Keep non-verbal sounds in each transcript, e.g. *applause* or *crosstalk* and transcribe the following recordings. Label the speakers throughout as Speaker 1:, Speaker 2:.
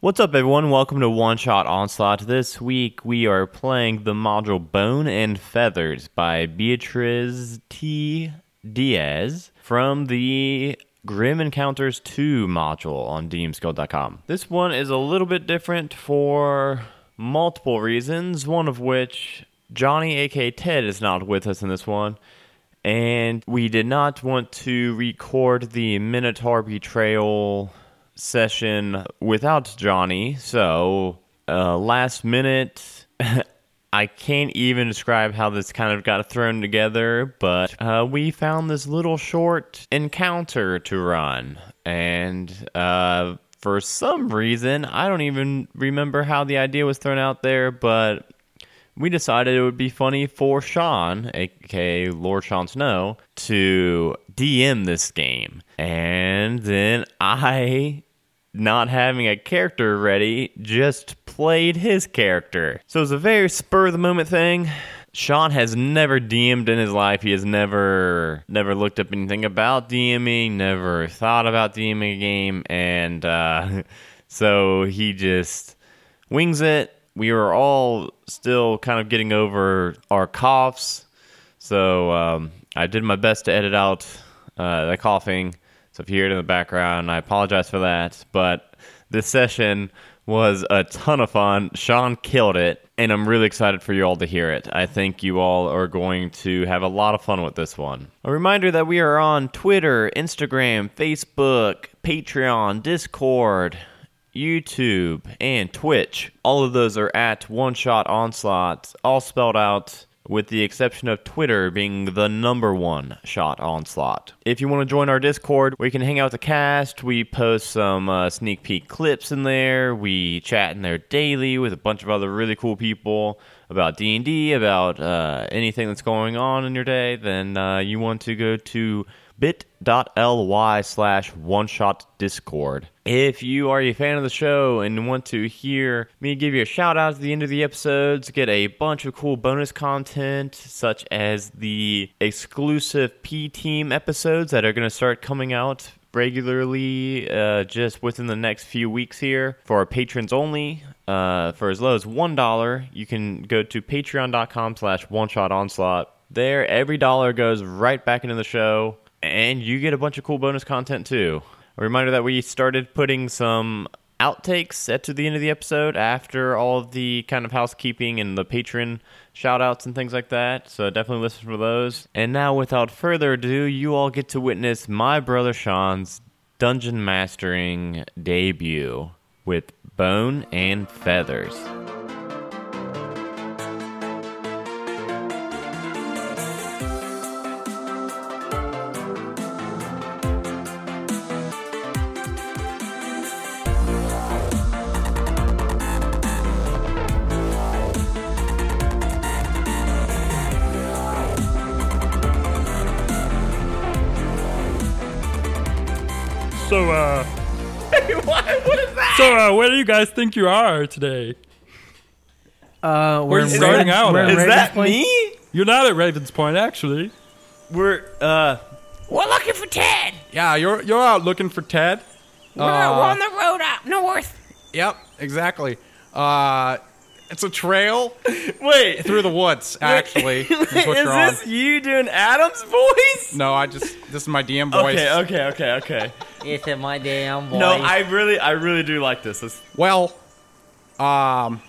Speaker 1: What's up, everyone? Welcome to One Shot Onslaught. This week we are playing the module Bone and Feathers by Beatriz T. Diaz from the Grim Encounters 2 module on DMSkill.com. This one is a little bit different for multiple reasons, one of which Johnny, aka Ted, is not with us in this one and we did not want to record the Minotaur betrayal session without Johnny. So, uh, last minute, *laughs* I can't even describe how this kind of got thrown together, but uh, we found this little short encounter to run, and uh, for some reason, I don't even remember how the idea was thrown out there, but we decided it would be funny for Sean, aka Lord Sean Snow, to DM this game. And then I, not having a character ready, just played his character. So it was a very spur of the moment thing. Sean has never DM'd in his life. He has never never looked up anything about DMing, never thought about DMing a game, and uh, *laughs* so he just wings it. We were all still kind of getting over our coughs, so um, I did my best to edit out uh, the coughing. So if you hear it in the background, I apologize for that. But this session was a ton of fun. Sean killed it, and I'm really excited for you all to hear it. I think you all are going to have a lot of fun with this one. A reminder that we are on Twitter, Instagram, Facebook, Patreon, Discord. YouTube, and Twitch. All of those are at One Shot Onslaught, all spelled out, with the exception of Twitter being the number one shot onslaught. If you want to join our Discord, we can hang out with the cast. We post some uh, sneak peek clips in there. We chat in there daily with a bunch of other really cool people about D and D, about uh, anything that's going on in your day. Then uh, you want to go to bit.ly slash one shot discord. If you are a fan of the show and want to hear me give you a shout out at the end of the episodes, get a bunch of cool bonus content, such as the exclusive P Team episodes that are going to start coming out regularly uh, just within the next few weeks here for our patrons only uh, for as low as one dollar you can go to patreon.com slash one shot onslaught there every dollar goes right back into the show and you get a bunch of cool bonus content too a reminder that we started putting some outtakes at to the end of the episode after all of the kind of housekeeping and the patron shout outs and things like that. So definitely listen for those. And now without further ado, you all get to witness my brother Sean's dungeon mastering debut with Bone and Feathers.
Speaker 2: So, uh,
Speaker 1: *laughs* what is that?
Speaker 2: so uh, where do you guys think you are today?
Speaker 3: Uh, we're in
Speaker 2: starting
Speaker 3: Ravens-
Speaker 2: out
Speaker 3: we're
Speaker 2: at?
Speaker 3: in
Speaker 2: Is
Speaker 3: Ravens Point.
Speaker 1: me?
Speaker 2: You're not at Ravens Point, actually.
Speaker 1: We're uh
Speaker 4: We're looking for Ted.
Speaker 5: Yeah, you're you're out looking for Ted. Uh,
Speaker 4: We're, we're on the road up north.
Speaker 5: Yep, exactly. Uh, it's a trail
Speaker 1: wait.
Speaker 5: through
Speaker 1: *laughs*
Speaker 5: the woods. Actually, is what you're on.
Speaker 1: you doing Adam's voice?
Speaker 5: No, I just this is my DM voice.
Speaker 1: okay, okay, okay.
Speaker 3: It's in my damn voice.
Speaker 1: really, I really do like this. This
Speaker 5: Well, um,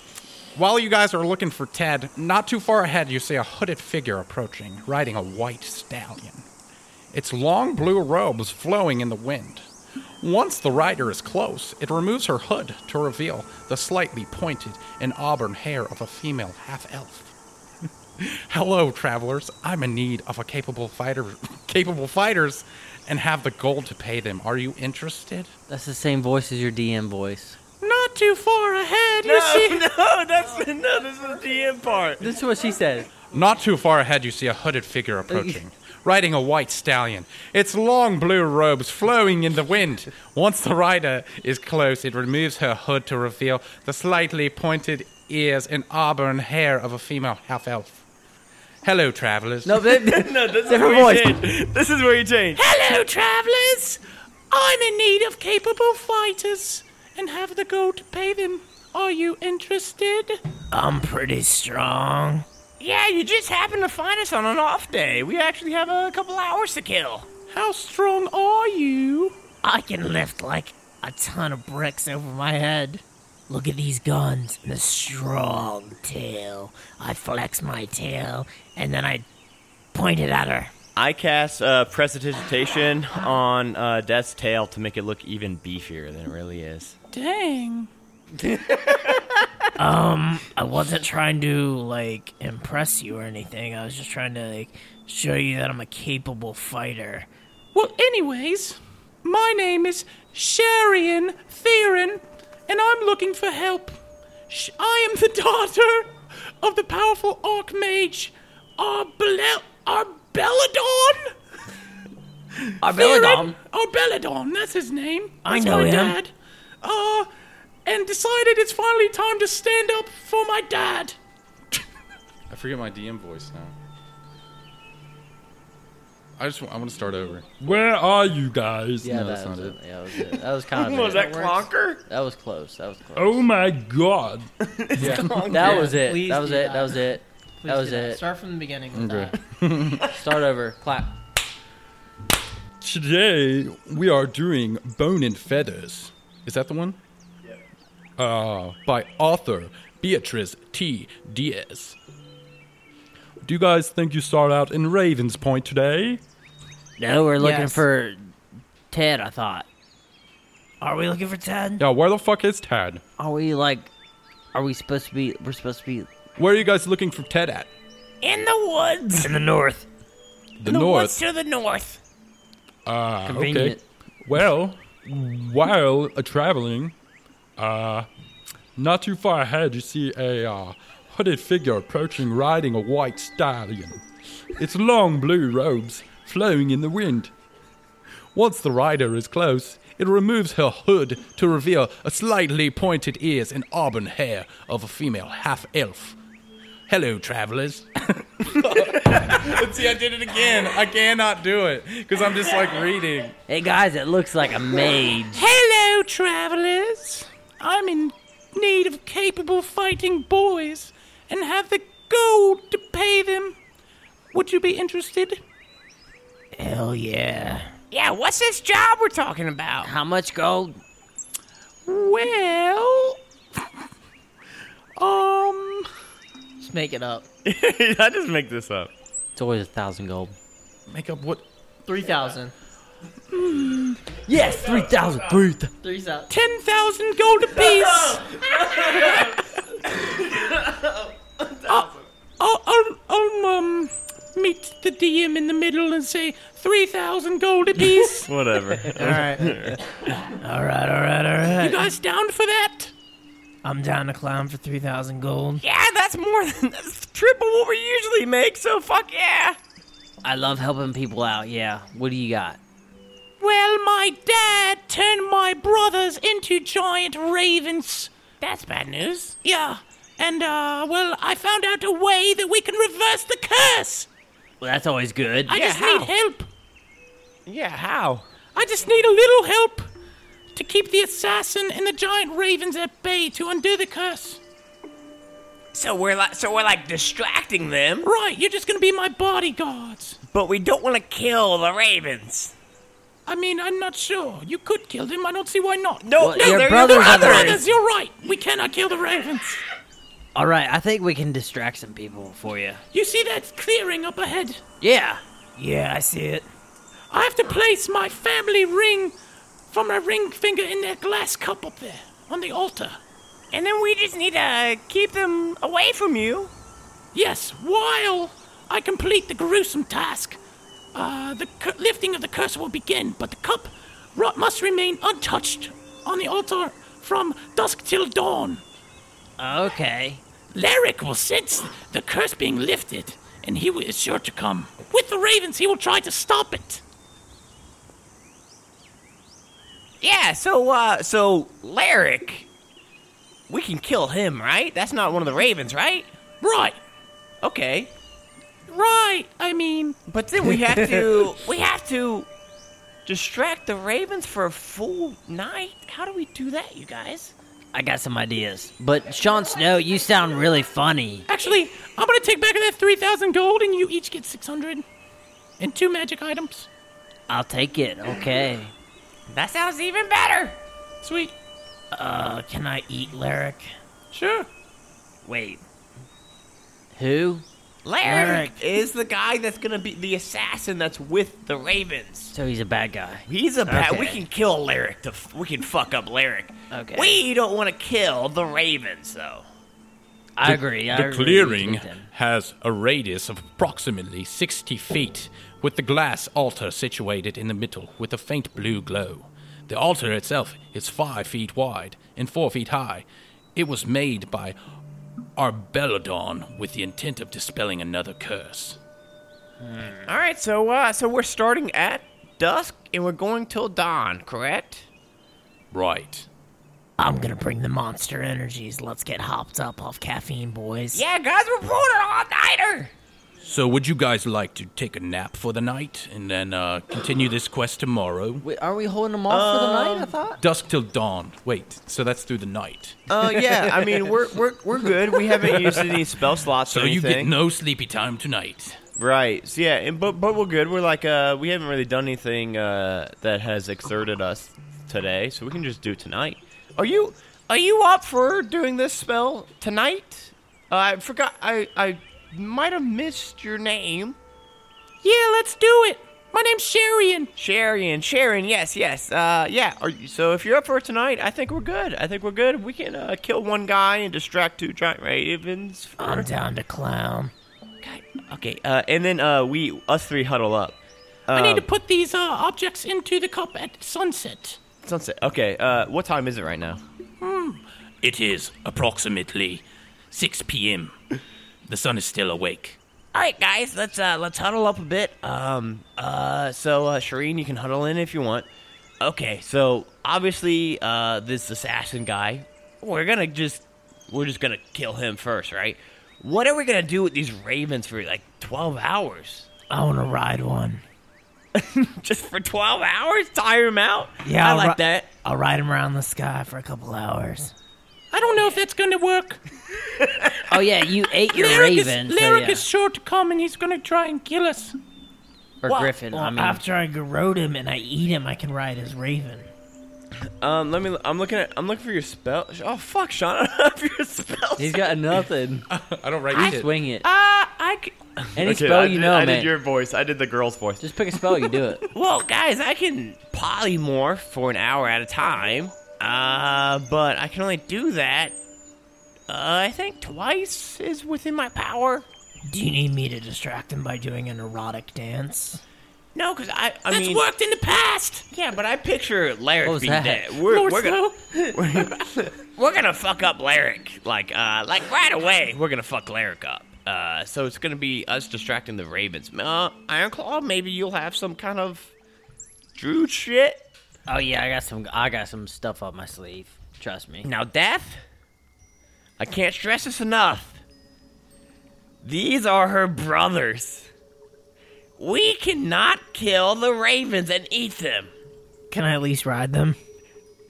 Speaker 5: while you guys are looking for Ted, not too far ahead, you see a hooded figure approaching, riding a white stallion. Its long blue robes flowing in the wind. Once the rider is close, it removes her hood to reveal the slightly pointed and auburn hair of a female half elf. *laughs* Hello, travelers. I'm in need of a capable fighter, *laughs* capable fighters, and have the gold to pay them. Are you interested?
Speaker 3: That's the same voice as your DM voice.
Speaker 5: Not too far ahead. You see
Speaker 1: *laughs* *laughs* no, that's no. This is the DM part.
Speaker 3: This is what she said.
Speaker 5: Not too far ahead, you see a hooded figure approaching, riding a white stallion. Its long blue robes flowing in the wind. Once the rider is close, it removes her hood to reveal the slightly pointed ears and auburn hair of a female half elf. Hello, travelers.
Speaker 3: No, *laughs* that,
Speaker 1: No, this
Speaker 3: Different
Speaker 1: is where
Speaker 3: voice.
Speaker 1: you change. This is where you change.
Speaker 5: Hello, travelers! I'm in need of capable fighters
Speaker 6: and have the go to pay them. Are you interested?
Speaker 7: I'm pretty strong.
Speaker 4: Yeah, you just happened to find us on an off day. We actually have a couple hours to kill.
Speaker 6: How strong are you?
Speaker 7: I can lift like a ton of bricks over my head. Look at these guns and the strong tail. I flex my tail and then I point it at her.
Speaker 1: I cast uh, Prestidigitation on uh, Death's tail to make it look even beefier than it really is.
Speaker 6: Dang.
Speaker 7: I wasn't trying to like impress you or anything. I was just trying to like show you that I'm a capable fighter.
Speaker 6: Well, anyways, my name is Sharian Theron, and I'm looking for help. Sh- I am the daughter of the powerful Archmage Arbele- Arbeladon? Theron Arbeladon, that's his name.
Speaker 7: I
Speaker 6: That's
Speaker 7: know
Speaker 6: my
Speaker 7: him.
Speaker 6: dad. Uh, and decided it's finally time to stand up for my dad.
Speaker 3: I forget my DM voice now. I just want, I want to start over.
Speaker 2: Where are you guys?
Speaker 3: No,
Speaker 8: Yeah,
Speaker 3: that's
Speaker 8: that was
Speaker 3: not
Speaker 8: it. Yeah, that was it. That was
Speaker 3: *laughs*
Speaker 8: kind of it.
Speaker 1: Clonker?
Speaker 8: That was close. That was close.
Speaker 2: Oh my god.
Speaker 8: That was it.
Speaker 9: Please
Speaker 8: That was
Speaker 9: do
Speaker 8: it.
Speaker 9: that.
Speaker 8: That was it.
Speaker 9: Please
Speaker 8: That was
Speaker 9: do
Speaker 8: it.
Speaker 9: Start from the beginning. with that.
Speaker 8: Start over. Clap.
Speaker 2: Today
Speaker 3: We are doing Bone and Feathers. Is that the one? Yeah. Uh, by author Beatrice T. Diaz.
Speaker 2: do you guys think you start out in Raven's Point today?
Speaker 7: No, we're looking
Speaker 6: Yes.
Speaker 7: for Ted, I thought. Are we looking for Ted?
Speaker 2: Yeah, where the fuck is Tad?
Speaker 8: Are we like? Are we supposed to be? We're supposed to be.
Speaker 3: Where are you guys looking for Ted at?
Speaker 4: In the woods.
Speaker 7: In the north.
Speaker 3: The
Speaker 4: The woods
Speaker 3: north.
Speaker 4: to the north.
Speaker 3: Ah,
Speaker 8: Convenient.
Speaker 2: Well, while uh, traveling, uh, not too far ahead, you see a uh, hooded figure approaching riding a white stallion. Its long blue robes flowing in the wind. Once the rider is close, it removes her hood to reveal a slightly pointed ears and auburn hair of a female half elf. *laughs*
Speaker 6: Hello, travelers.
Speaker 3: *laughs* See, I did it again. I cannot do it because I'm just like reading.
Speaker 8: Hey guys, it looks like a mage.
Speaker 6: Hello, travelers. I'm in need of capable fighting boys and have the gold to pay them. Would you be interested?
Speaker 7: Hell yeah.
Speaker 4: Yeah, what's this job we're talking about?
Speaker 7: How much gold?
Speaker 6: Well, um,
Speaker 9: Just make it up.
Speaker 1: *laughs* I just make this up.
Speaker 8: It's always a thousand gold.
Speaker 3: Make up what?
Speaker 9: Three thousand.
Speaker 8: Yes, three thousand. Three.
Speaker 9: Three thousand.
Speaker 6: ten thousand gold apiece. I'll, I'll, I'll, um, meet the DM in the middle and say three thousand gold apiece.
Speaker 1: Whatever.
Speaker 7: All right, all right, all right.
Speaker 6: you guys down for that?
Speaker 7: I'm down to clown for 3,000 gold.
Speaker 4: Yeah, that's more than that's triple what we usually make, so fuck yeah.
Speaker 8: I love helping people out. Yeah. What do you got?
Speaker 6: Well, my dad turned my brothers into giant ravens.
Speaker 4: That's bad news.
Speaker 6: Yeah. And, uh, well, I found out a way that we can reverse the curse.
Speaker 8: Well, that's always good.
Speaker 6: I
Speaker 4: Yeah,
Speaker 6: just
Speaker 4: how?
Speaker 6: need help.
Speaker 4: Yeah, how?
Speaker 6: I just need a little help to keep the assassin and the giant ravens at bay to undo the curse.
Speaker 4: So we're like so we're like distracting them,
Speaker 6: Right, you're just gonna be my bodyguards.
Speaker 4: but we don't want to kill the ravens.
Speaker 6: I mean, I'm not sure. You could kill them. I don't see why not.
Speaker 4: No,
Speaker 8: Well,
Speaker 4: no,
Speaker 8: your
Speaker 4: they're
Speaker 8: brothers
Speaker 4: your
Speaker 8: are the
Speaker 4: brothers.
Speaker 6: Brothers, you're right. We cannot kill the ravens.
Speaker 8: All right, I think we can distract some people for you.
Speaker 6: You see that clearing up ahead?
Speaker 8: Yeah.
Speaker 7: Yeah, I see it.
Speaker 6: I have to place my family ring from my ring finger in that glass cup up there on the altar.
Speaker 4: And then we just need to keep them away from you.
Speaker 6: Yes, while I complete the gruesome task, uh, the cur- lifting of the curse will begin, but the cup ru- must remain untouched on the altar from dusk till dawn.
Speaker 8: Okay.
Speaker 6: Larrick will sense the curse being lifted, and he wi- is sure to come. With the ravens, he will try to stop it.
Speaker 4: Yeah, so uh so Larrick we can kill him, right? That's not one of the ravens, right?
Speaker 6: Right,
Speaker 4: Okay.
Speaker 6: right, I mean.
Speaker 7: *laughs*
Speaker 4: But then we have to we have to Distract the ravens for a full night? How do we do that, you guys?
Speaker 8: I got some ideas. But Sean Snow, you sound really funny.
Speaker 6: Actually, I'm gonna take back that 3,000 gold and you each get 600. And two magic items.
Speaker 8: I'll take it. Okay.
Speaker 4: That sounds even better.
Speaker 6: Sweet.
Speaker 7: Uh, can I eat Larrick?
Speaker 6: Sure.
Speaker 8: Wait. Who?
Speaker 4: Larry is the guy that's gonna be the assassin that's with the ravens.
Speaker 8: So he's a bad guy.
Speaker 4: He's a
Speaker 7: Uh,
Speaker 4: bad. We
Speaker 8: Okay.
Speaker 4: can kill Larrick. To f- we can fuck up Larrick.
Speaker 8: Okay.
Speaker 4: We don't want to kill the ravens, though.
Speaker 8: I agree. I
Speaker 3: The
Speaker 8: agree
Speaker 3: clearing
Speaker 8: with him.
Speaker 3: has a radius of approximately 60 feet, with the glass altar situated in the middle with a faint blue glow. The altar itself is 5 feet wide and 4 feet high. It was made by Arbelodon with the intent of dispelling another curse.
Speaker 4: All right, so uh, so we're starting at dusk and we're going till dawn, correct?
Speaker 3: Right.
Speaker 7: I'm gonna bring the monster energies. Let's get hopped up off caffeine, boys.
Speaker 4: Yeah, guys, we're pulling an all-nighter.
Speaker 3: So, would you guys like to take a nap for the night and then uh, continue this quest tomorrow?
Speaker 8: Wait, aren't we holding him off for the night? I thought.
Speaker 3: Dusk till dawn. Wait, so that's through the night.
Speaker 1: Uh, yeah, I mean we're we're we're good. We haven't used any spell slots
Speaker 3: So,
Speaker 1: or
Speaker 3: you
Speaker 1: anything.
Speaker 3: get no sleepy time tonight.
Speaker 1: Right. So yeah, and, but but we're good. We're like uh we haven't really done anything uh that has exerted us today, so we can just do tonight. Are you are you up for doing this spell tonight? Uh, I forgot. I I might have missed your name.
Speaker 4: Yeah, let's do it. My name's Sharian. Sharian, Sharon. Yes, yes. Uh, yeah. Are you, so if you're up for it tonight, I think we're good. I think we're good. We can uh, kill one guy and distract two giant ravens. for-
Speaker 7: I'm down to clown.
Speaker 4: Okay. Okay.
Speaker 1: Okay. Uh, and then uh we us three huddle up.
Speaker 6: I need to put these uh, objects into the cup at sunset.
Speaker 1: Sunset. Okay. Uh, what time is it right now?
Speaker 3: It is approximately 6 p.m. The sun is still awake.
Speaker 4: All right, guys. Let's uh, let's huddle up a bit. Um. Uh. So, uh, Shireen, you can huddle in if you want. Okay. So obviously, uh, this assassin guy. We're gonna just we're just gonna kill him first, right? What are we gonna do with these ravens for like twelve hours?
Speaker 7: I wanna ride one.
Speaker 4: just for 12 hours tire him out
Speaker 7: Yeah,
Speaker 4: i
Speaker 7: I'll
Speaker 4: like
Speaker 7: ri-
Speaker 4: that
Speaker 7: I'll ride him around the sky for a couple hours.
Speaker 6: I don't know if that's gonna work.
Speaker 8: Oh yeah, you ate your
Speaker 6: Lyric is,
Speaker 8: raven. so
Speaker 6: Lyric
Speaker 8: yeah.
Speaker 6: is sure to come and he's gonna try and kill us.
Speaker 8: or Griffin.
Speaker 7: Well,
Speaker 8: I mean,
Speaker 7: after I garrote him and I eat him, I can ride his raven.
Speaker 1: Um, let me. I'm looking at. I'm looking for your spell. Oh fuck, Sean! *laughs* I don't have your spell.
Speaker 8: he's got nothing.
Speaker 3: I don't write shit.
Speaker 8: Swing it.
Speaker 4: uh i c-
Speaker 8: Any spell you know,
Speaker 1: I
Speaker 8: man.
Speaker 1: did your voice. I did the girl's *laughs* voice.
Speaker 8: Just pick a spell, you do it.
Speaker 4: well guys i can polymorph for an hour at a time uh but i can only do that uh, i think twice is within my power
Speaker 7: Do you need me to distract him by doing an erotic dance?
Speaker 4: no because i i
Speaker 6: That's
Speaker 4: mean
Speaker 6: worked in the past.
Speaker 4: yeah but i picture
Speaker 8: What
Speaker 4: larrick
Speaker 8: was
Speaker 4: being
Speaker 8: that?
Speaker 4: dead we're,
Speaker 6: More
Speaker 4: we're gonna
Speaker 6: slow.
Speaker 4: *laughs* we're gonna fuck up Larrick. Like, uh, like right away, we're gonna fuck Larrick up. Uh, so it's gonna be us distracting the Ravens. Uh, Ironclaw, maybe you'll have some kind of Drew shit.
Speaker 8: Oh yeah, I got some. I got some stuff up my sleeve. Trust me.
Speaker 4: Now, Death, I can't stress this enough. These are her brothers. We cannot kill the Ravens and eat them.
Speaker 7: Can I at least ride them?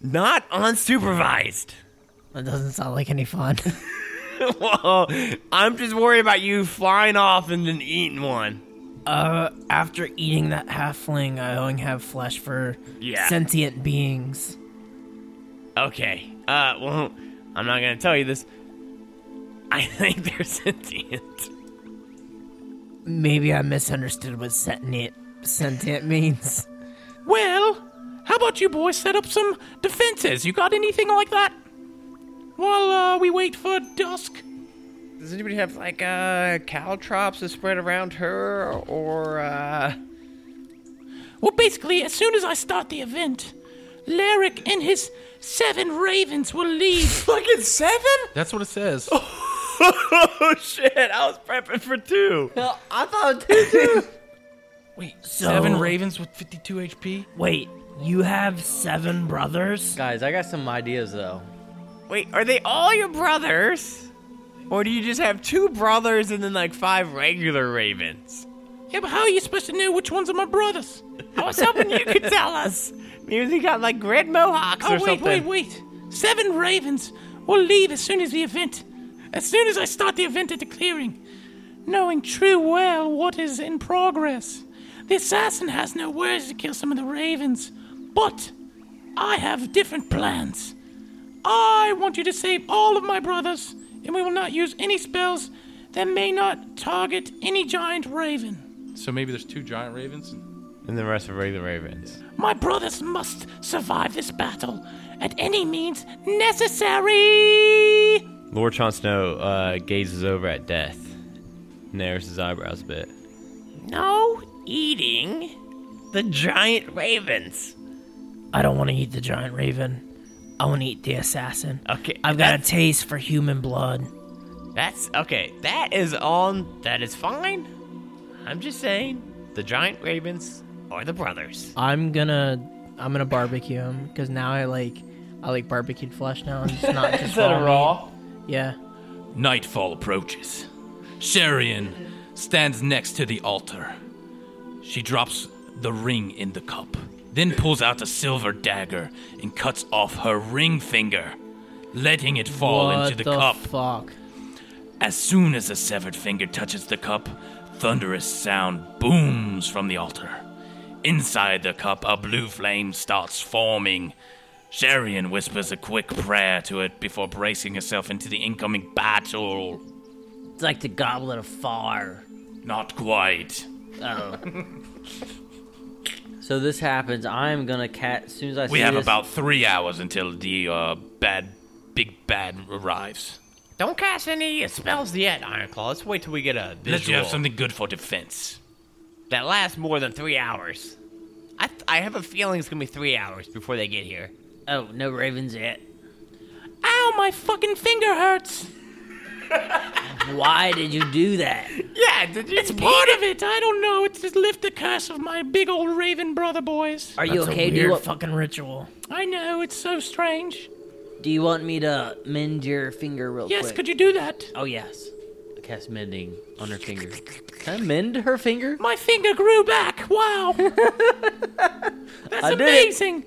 Speaker 4: Not unsupervised.
Speaker 7: That doesn't sound like any fun. *laughs*
Speaker 4: Whoa, I'm just worried about you flying off and then eating one.
Speaker 7: uh, after eating that halfling, I only have flesh for
Speaker 4: Yeah.
Speaker 7: sentient beings.
Speaker 4: Okay. Uh, well, I'm not gonna tell you this. I *laughs* think they're sentient.
Speaker 7: Maybe I misunderstood what sentient sentient means.
Speaker 6: Well, how about you boys set up some defenses? You got anything like that? While uh, we wait for dusk.
Speaker 4: Does anybody have like uh caltrops to spread around her or uh?
Speaker 6: Well, basically, as soon as I start the event, Larrick and his seven ravens will
Speaker 4: *laughs*
Speaker 6: leave.
Speaker 4: Fucking seven?
Speaker 3: That's what it says.
Speaker 4: oh shit! I was prepping for two.
Speaker 8: I thought two
Speaker 3: Wait,
Speaker 7: So-
Speaker 3: seven ravens with 52 HP?
Speaker 7: Wait, you have seven brothers?
Speaker 8: guys. I got some ideas though.
Speaker 4: Wait, are they all your brothers? Or do you just have two brothers and then like five regular ravens?
Speaker 10: Yeah, but how are you supposed to know which ones are my brothers?
Speaker 4: I was hoping you could tell us. Maybe they got like red mohawks
Speaker 10: Oh,
Speaker 4: or
Speaker 10: wait,
Speaker 4: something.
Speaker 10: wait, wait. Seven ravens will leave as soon as the event. As soon as I start the event at the clearing, knowing true well what is in progress. The assassin has no words to kill some of the ravens, but I have different plans. I want you to save all of my brothers, and we will not use any spells that may not target any giant raven.
Speaker 2: So maybe there's two giant ravens.
Speaker 1: And the rest of the Ravens.
Speaker 10: My brothers must survive this battle at any means necessary.
Speaker 1: Lord Jon Snow uh, gazes over at Death, narrows his eyebrows a bit.
Speaker 4: No eating the giant ravens.
Speaker 11: I don't want to eat the giant raven. I want to eat the assassin.
Speaker 4: Okay,
Speaker 11: I've got a taste for human blood.
Speaker 4: That's okay. That is on. That is fine. I'm just saying, the giant ravens are the brothers.
Speaker 7: I'm gonna I'm gonna barbecue him because now I like I like barbecued flesh now. and It's
Speaker 4: *laughs*
Speaker 7: not just raw. meat. Yeah.
Speaker 10: Nightfall approaches. Sherian stands next to the altar. She drops the ring in the cup, then pulls out a silver dagger and cuts off her ring finger, letting it fall
Speaker 7: what
Speaker 10: into the,
Speaker 7: the
Speaker 10: cup.
Speaker 7: fuck?
Speaker 10: As soon as the severed finger touches the cup, thunderous sound booms from the altar. Inside the cup, a blue flame starts forming. Sherian whispers a quick prayer to it before bracing herself into the incoming battle.
Speaker 11: It's like the goblet of fire.
Speaker 10: Not quite.
Speaker 8: So this happens. I'm gonna cat as soon as I
Speaker 10: We
Speaker 8: see
Speaker 10: have
Speaker 8: this-
Speaker 10: about three hours until the uh, bad, big bad arrives.
Speaker 4: Don't cast any spells yet, Ironclaw. Let's wait till we get a
Speaker 10: Unless you
Speaker 4: visual
Speaker 10: have something good for defense.
Speaker 4: that lasts more than three hours. I, I have a feeling it's gonna be three hours before they get here.
Speaker 11: Oh, no ravens yet.
Speaker 10: Ow, my fucking finger hurts!
Speaker 11: Why did you do that?
Speaker 4: Yeah, did you? It's
Speaker 10: Part of it, I don't know. It's to lift the curse of my big old raven brother boys.
Speaker 11: Are you
Speaker 8: That's a
Speaker 11: okay? do
Speaker 8: weird
Speaker 11: you want fucking ritual?
Speaker 10: I know, it's so strange.
Speaker 8: Do you want me to mend your finger real
Speaker 10: Yes,
Speaker 8: quick?
Speaker 10: could you do that?
Speaker 8: Oh yes. Cast mending on her finger. Can I mend her finger?
Speaker 10: My finger grew back.
Speaker 8: *laughs*
Speaker 10: Wow. That's
Speaker 8: I did it.
Speaker 10: amazing.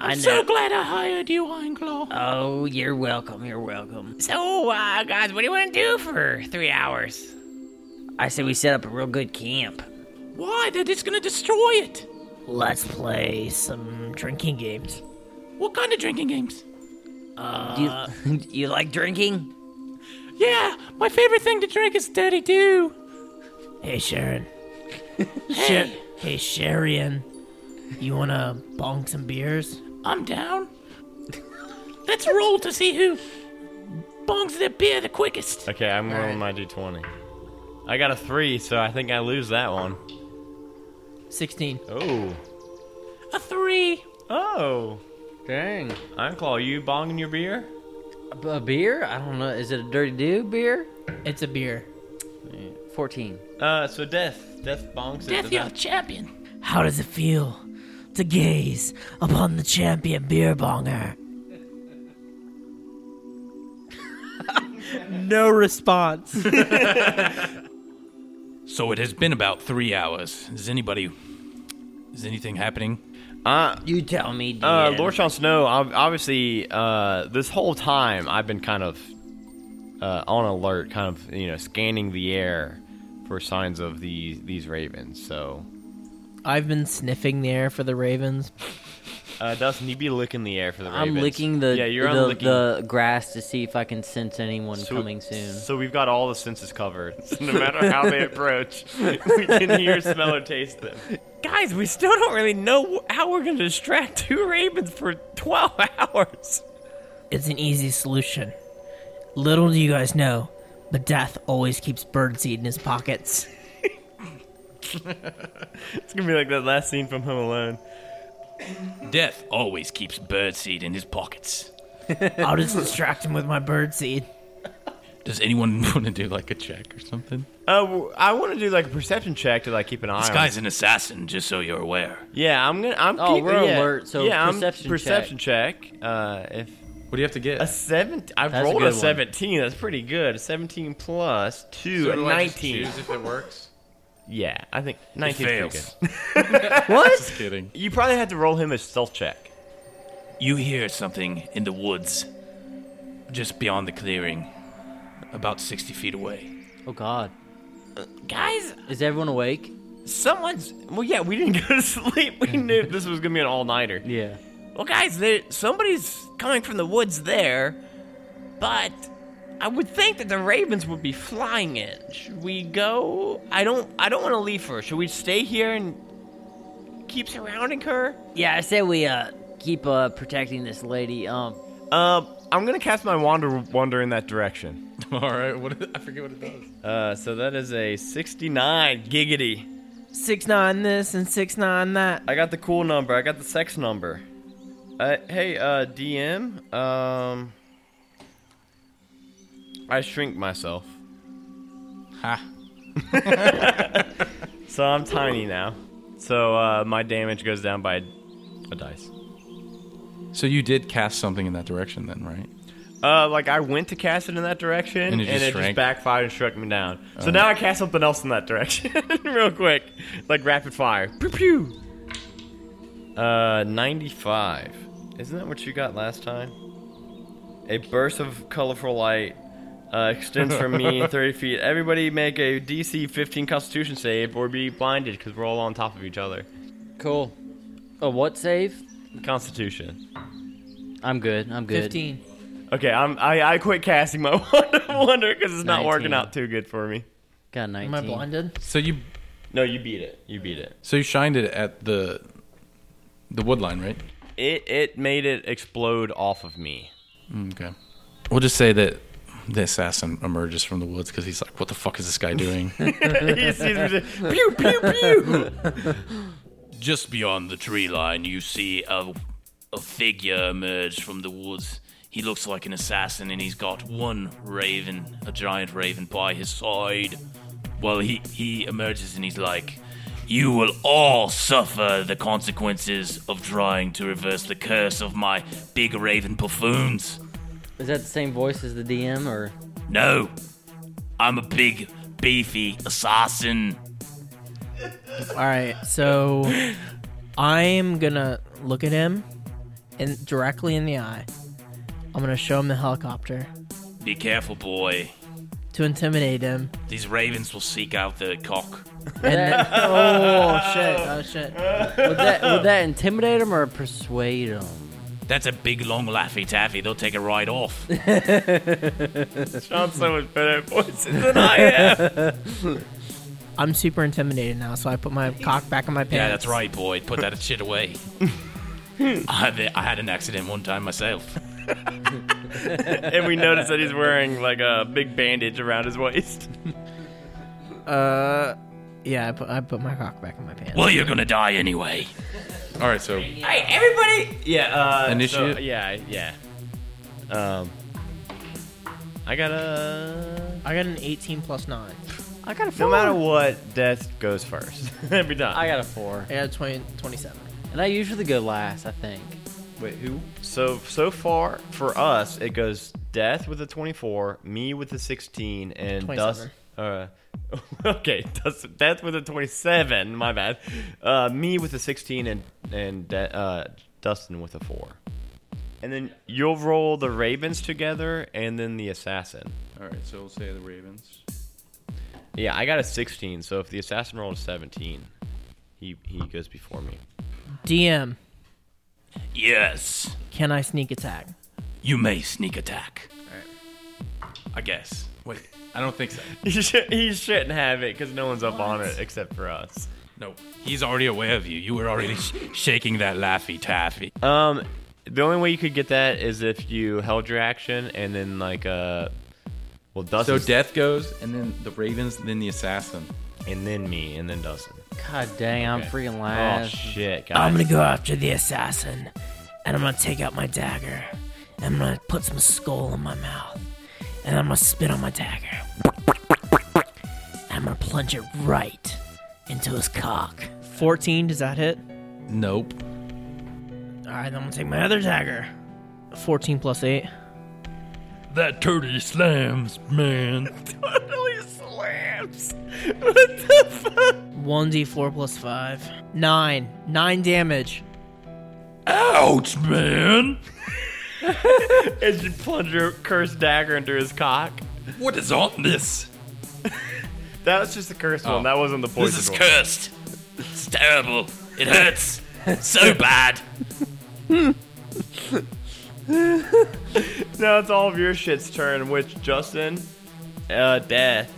Speaker 11: I know.
Speaker 10: So glad I hired you, Ironclaw.
Speaker 8: Uh.
Speaker 11: oh, you're welcome. You're welcome.
Speaker 4: So, uh, guys, what do you want to do for three hours?
Speaker 11: I say we set up a real good camp.
Speaker 10: Why? They're just gonna destroy it.
Speaker 11: Let's play some drinking games.
Speaker 10: What kind of drinking games?
Speaker 8: Do you,
Speaker 10: Uh,
Speaker 8: *laughs* you like drinking?
Speaker 10: Yeah, my favorite thing to drink is Daddy Dew.
Speaker 7: *laughs*
Speaker 11: Hey, Sharon. hey. Hey, Sharon. You wanna bong some beers?
Speaker 10: I'm down. Let's roll to see who bongs their beer the quickest.
Speaker 1: Okay, I'm rolling my d20. I got a three, so I think I lose that one.
Speaker 7: Sixteen.
Speaker 1: Oh.
Speaker 10: A three.
Speaker 1: Oh.
Speaker 8: Dang.
Speaker 1: Ironclaw, you bonging your beer?
Speaker 8: A, a beer? I don't know. Is it a dirty do beer?
Speaker 7: It's a beer.
Speaker 8: Fourteen.
Speaker 1: Uh, so Death. Death bongs it.
Speaker 10: Death,
Speaker 1: to
Speaker 10: you're a
Speaker 1: that.
Speaker 10: champion.
Speaker 11: How does it feel to gaze upon the champion beer bonger?
Speaker 7: No response.
Speaker 10: So it has been about three hours. Is anybody. Is anything happening?
Speaker 1: Uh,
Speaker 8: You tell me. DM.
Speaker 1: uh, Lord Sean Snow, ob- obviously, uh, this whole time I've been kind of uh, on alert, kind of, you know, scanning the air for signs of these these ravens. So,
Speaker 7: I've been sniffing the air for the ravens.
Speaker 1: uh, Dustin, you be licking the air for the
Speaker 8: I'm
Speaker 1: ravens.
Speaker 8: licking the
Speaker 1: yeah, you're
Speaker 8: the,
Speaker 1: on licking.
Speaker 8: the grass to see if I can sense anyone
Speaker 1: So-
Speaker 8: coming soon.
Speaker 1: So we've got all the senses covered. *laughs* no matter how they approach, *laughs* we can hear, smell, or taste them.
Speaker 4: Guys, we still don't really know how we're gonna distract two ravens for 12
Speaker 1: *laughs*
Speaker 4: hours.
Speaker 11: It's an easy solution. Little do you guys know, but Death always keeps birdseed in his pockets.
Speaker 1: It's gonna be like that last scene from Home Alone.
Speaker 10: Death always keeps birdseed in his pockets.
Speaker 7: *laughs*
Speaker 11: I'll just distract him with my birdseed.
Speaker 10: Does anyone *laughs* want to do like a check or something?
Speaker 1: Uh, w- I want to do like a perception check to like keep an eye.
Speaker 10: This
Speaker 1: on
Speaker 10: guy's an assassin, just so you're aware.
Speaker 1: Yeah, I'm gonna. I'm
Speaker 8: Oh,
Speaker 1: keep-
Speaker 8: we're
Speaker 1: yeah.
Speaker 8: alert, so
Speaker 1: yeah,
Speaker 8: perception
Speaker 1: I'm, perception check. Uh, if
Speaker 2: What do you have to get?
Speaker 1: a seven, I've
Speaker 8: That's a
Speaker 1: rolled a,
Speaker 8: good one.
Speaker 1: seventeen. That's pretty good. Seventeen plus two,
Speaker 2: So
Speaker 1: a
Speaker 2: do I just
Speaker 1: nineteen.
Speaker 2: choose if it works.
Speaker 1: Yeah, I think 19
Speaker 10: fails.
Speaker 1: *laughs*
Speaker 2: Just kidding.
Speaker 1: You probably had to roll him a stealth check.
Speaker 10: You hear something in the woods, just beyond the clearing, about 60 feet away.
Speaker 1: *laughs*
Speaker 8: Oh God,
Speaker 4: Guys,
Speaker 8: is everyone awake?
Speaker 4: someone's. Well, yeah, we didn't go to sleep. We knew this was gonna be an all nighter.
Speaker 8: Yeah.
Speaker 4: Well, guys, there, somebody's coming from the woods there, but I would think that the ravens would be flying in. Should we go? I don't. I don't want to leave her. Should we stay here and keep surrounding her?
Speaker 5: Yeah, I say we uh
Speaker 8: Keep uh protecting this lady. Um.
Speaker 1: Um, I'm gonna cast my wander wander in that direction.
Speaker 10: *laughs* All right, what I forget what it does.
Speaker 1: Uh, so that is a 69 giggity.
Speaker 7: Six nine this and six nine that.
Speaker 1: I got the cool number. I got the sex number. Uh, hey, uh, DM. Um, I shrink myself.
Speaker 10: Ha.
Speaker 1: *laughs* so I'm tiny now. So uh, my damage goes down by a dice.
Speaker 10: So you did cast something in that direction then, right?
Speaker 1: Uh, like I went to cast it in that direction, and
Speaker 10: And
Speaker 1: it,
Speaker 10: it just
Speaker 1: just, Uh-huh.
Speaker 10: shrank?
Speaker 1: backfired and struck me down. So now I cast something else in that direction, *laughs* real quick, like rapid fire. Pew pew. Uh, ninety-five. Isn't that what you got last time? A burst of colorful light uh, extends from *laughs* me thirty feet. Everybody make a DC fifteen Constitution save or be blinded because we're all on top of each other.
Speaker 8: Cool. Oh, what save?
Speaker 1: Constitution.
Speaker 8: I'm good. I'm good.
Speaker 7: Fifteen.
Speaker 1: Okay, I'm I, I quit casting my *laughs* wonder because it's not working
Speaker 8: 19.
Speaker 1: out too good for me.
Speaker 8: Got nineteen.
Speaker 7: Am I blinded?
Speaker 10: So you
Speaker 1: No, you beat it. You beat it.
Speaker 10: so you shined it at the the wood line, right?
Speaker 1: It it made it explode off of me.
Speaker 10: Okay. We'll just say that the assassin emerges from the woods because he's like, "What the fuck is this guy *laughs* doing?"
Speaker 1: he sees me say, pew pew pew.
Speaker 10: Just beyond the tree line, you see a, a figure emerge from the woods. He looks like an assassin, and he's got one raven, a giant raven, by his side. Well, he, he emerges and he's like, You will all suffer the consequences of trying to reverse the curse of my big raven buffoons.
Speaker 8: Is that the same voice as the DM or?
Speaker 10: No, I'm a big, beefy assassin.
Speaker 7: All right, so I'm gonna look at him and directly in the eye. I'm gonna show him the helicopter
Speaker 10: Be careful, boy.
Speaker 7: to intimidate him.
Speaker 10: These ravens will seek out the cock.
Speaker 7: And then, oh shit! Oh shit!
Speaker 8: Would that would that intimidate him or persuade him?
Speaker 10: That's a big long laffy taffy. They'll take it
Speaker 1: *laughs*
Speaker 10: right off.
Speaker 1: Sean's so much better at voices than
Speaker 10: *laughs*
Speaker 1: I am.
Speaker 7: I'm super intimidated now, so I put my cock back in my pants.
Speaker 10: yeah, that's right, boy. Put that
Speaker 1: *laughs*
Speaker 10: shit away. I, had, I had an accident one time myself.
Speaker 1: and we notice that he's wearing like a big bandage around his waist. *laughs*
Speaker 7: Uh, yeah, I put, I put my cock back in my pants.
Speaker 10: Well, you're gonna die anyway. All right, so
Speaker 1: Hey, everybody! Yeah. Uh,
Speaker 10: Initiate?
Speaker 1: so- yeah, yeah. Um, I got to
Speaker 7: I got an 18 plus nine.
Speaker 8: I got a four.
Speaker 1: No matter what, death goes first *laughs* every time.
Speaker 8: I got a four,
Speaker 7: I got 20, 27.
Speaker 8: and I usually go last. I think.
Speaker 1: Wait, who? So so far for us, it goes death with a twenty-four, me with a sixteen, and dust. Uh, *laughs* okay, dust, death with a twenty-seven. My bad. Uh, me with a sixteen, and and De- uh, Dustin with a four. And then you'll roll the ravens together, and then the assassin.
Speaker 2: All right, so we'll say the Ravens.
Speaker 1: Yeah, I got a sixteen. So if the assassin rolled a seventeen, he he goes before me. *laughs*
Speaker 7: DM,
Speaker 10: yes,
Speaker 7: can I sneak attack?
Speaker 10: you may sneak attack. I guess. Wait, I don't think so.
Speaker 1: He, should, he shouldn't have it because no one's up on it except for us.
Speaker 10: No, he's already aware of you. You were already sh- shaking that laffy taffy.
Speaker 3: Uh,
Speaker 1: Um, the only way you could get that is if you held your action and then like uh, well Dustin
Speaker 10: death goes, and then the ravens, then the assassin.
Speaker 1: and then me and then Dustin.
Speaker 8: God dang, I'm freaking
Speaker 1: Oh
Speaker 8: last.
Speaker 1: shit,
Speaker 11: I'm
Speaker 1: guys!
Speaker 11: gonna go after the assassin, and I'm gonna take out my dagger, and I'm gonna put some skull in my mouth, and I'm gonna spit on my dagger. And I'm gonna plunge it right into his cock.
Speaker 7: 14, does that hit?
Speaker 10: Nope.
Speaker 11: *laughs*
Speaker 7: All right, then I'm gonna take my other dagger. 14 plus 8.
Speaker 2: that totally slams, man.
Speaker 4: totally slams. What the fuck?
Speaker 7: 1d4 plus 5. 9. 9 damage.
Speaker 2: Ouch, man.
Speaker 1: As you plunge your cursed dagger into his cock.
Speaker 2: What is on this?
Speaker 1: That was just the cursed one. That wasn't the
Speaker 10: This
Speaker 1: poison
Speaker 10: is
Speaker 1: one.
Speaker 10: cursed. It's terrible. It hurts so bad.
Speaker 1: now it's all of your shit's turn, which Justin, uh, death.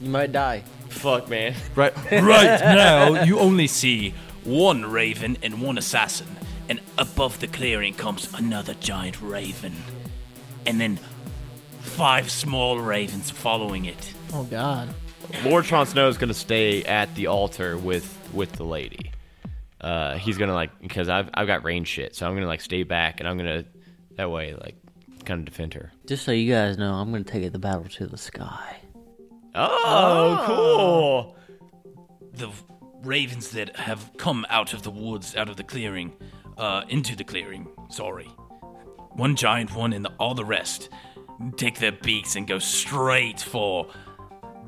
Speaker 8: You might die.
Speaker 1: Fuck, man.
Speaker 10: Right,
Speaker 3: *laughs*
Speaker 10: right now, you only see one raven and one assassin, and above the clearing comes another giant raven, and then five small ravens following it.
Speaker 7: Oh, God.
Speaker 1: Lord Tron Snow is gonna stay at the altar with with the lady. Uh, he's gonna like because I've I've got range shit, so I'm gonna like stay back and I'm gonna that way like kind of defend her.
Speaker 8: Just so you guys know, I'm going to take the battle to the sky.
Speaker 1: Oh,
Speaker 10: The ravens that have come out of the woods, out of the clearing, uh, into the clearing. Sorry, one giant one and the, all the rest take their beaks and go straight for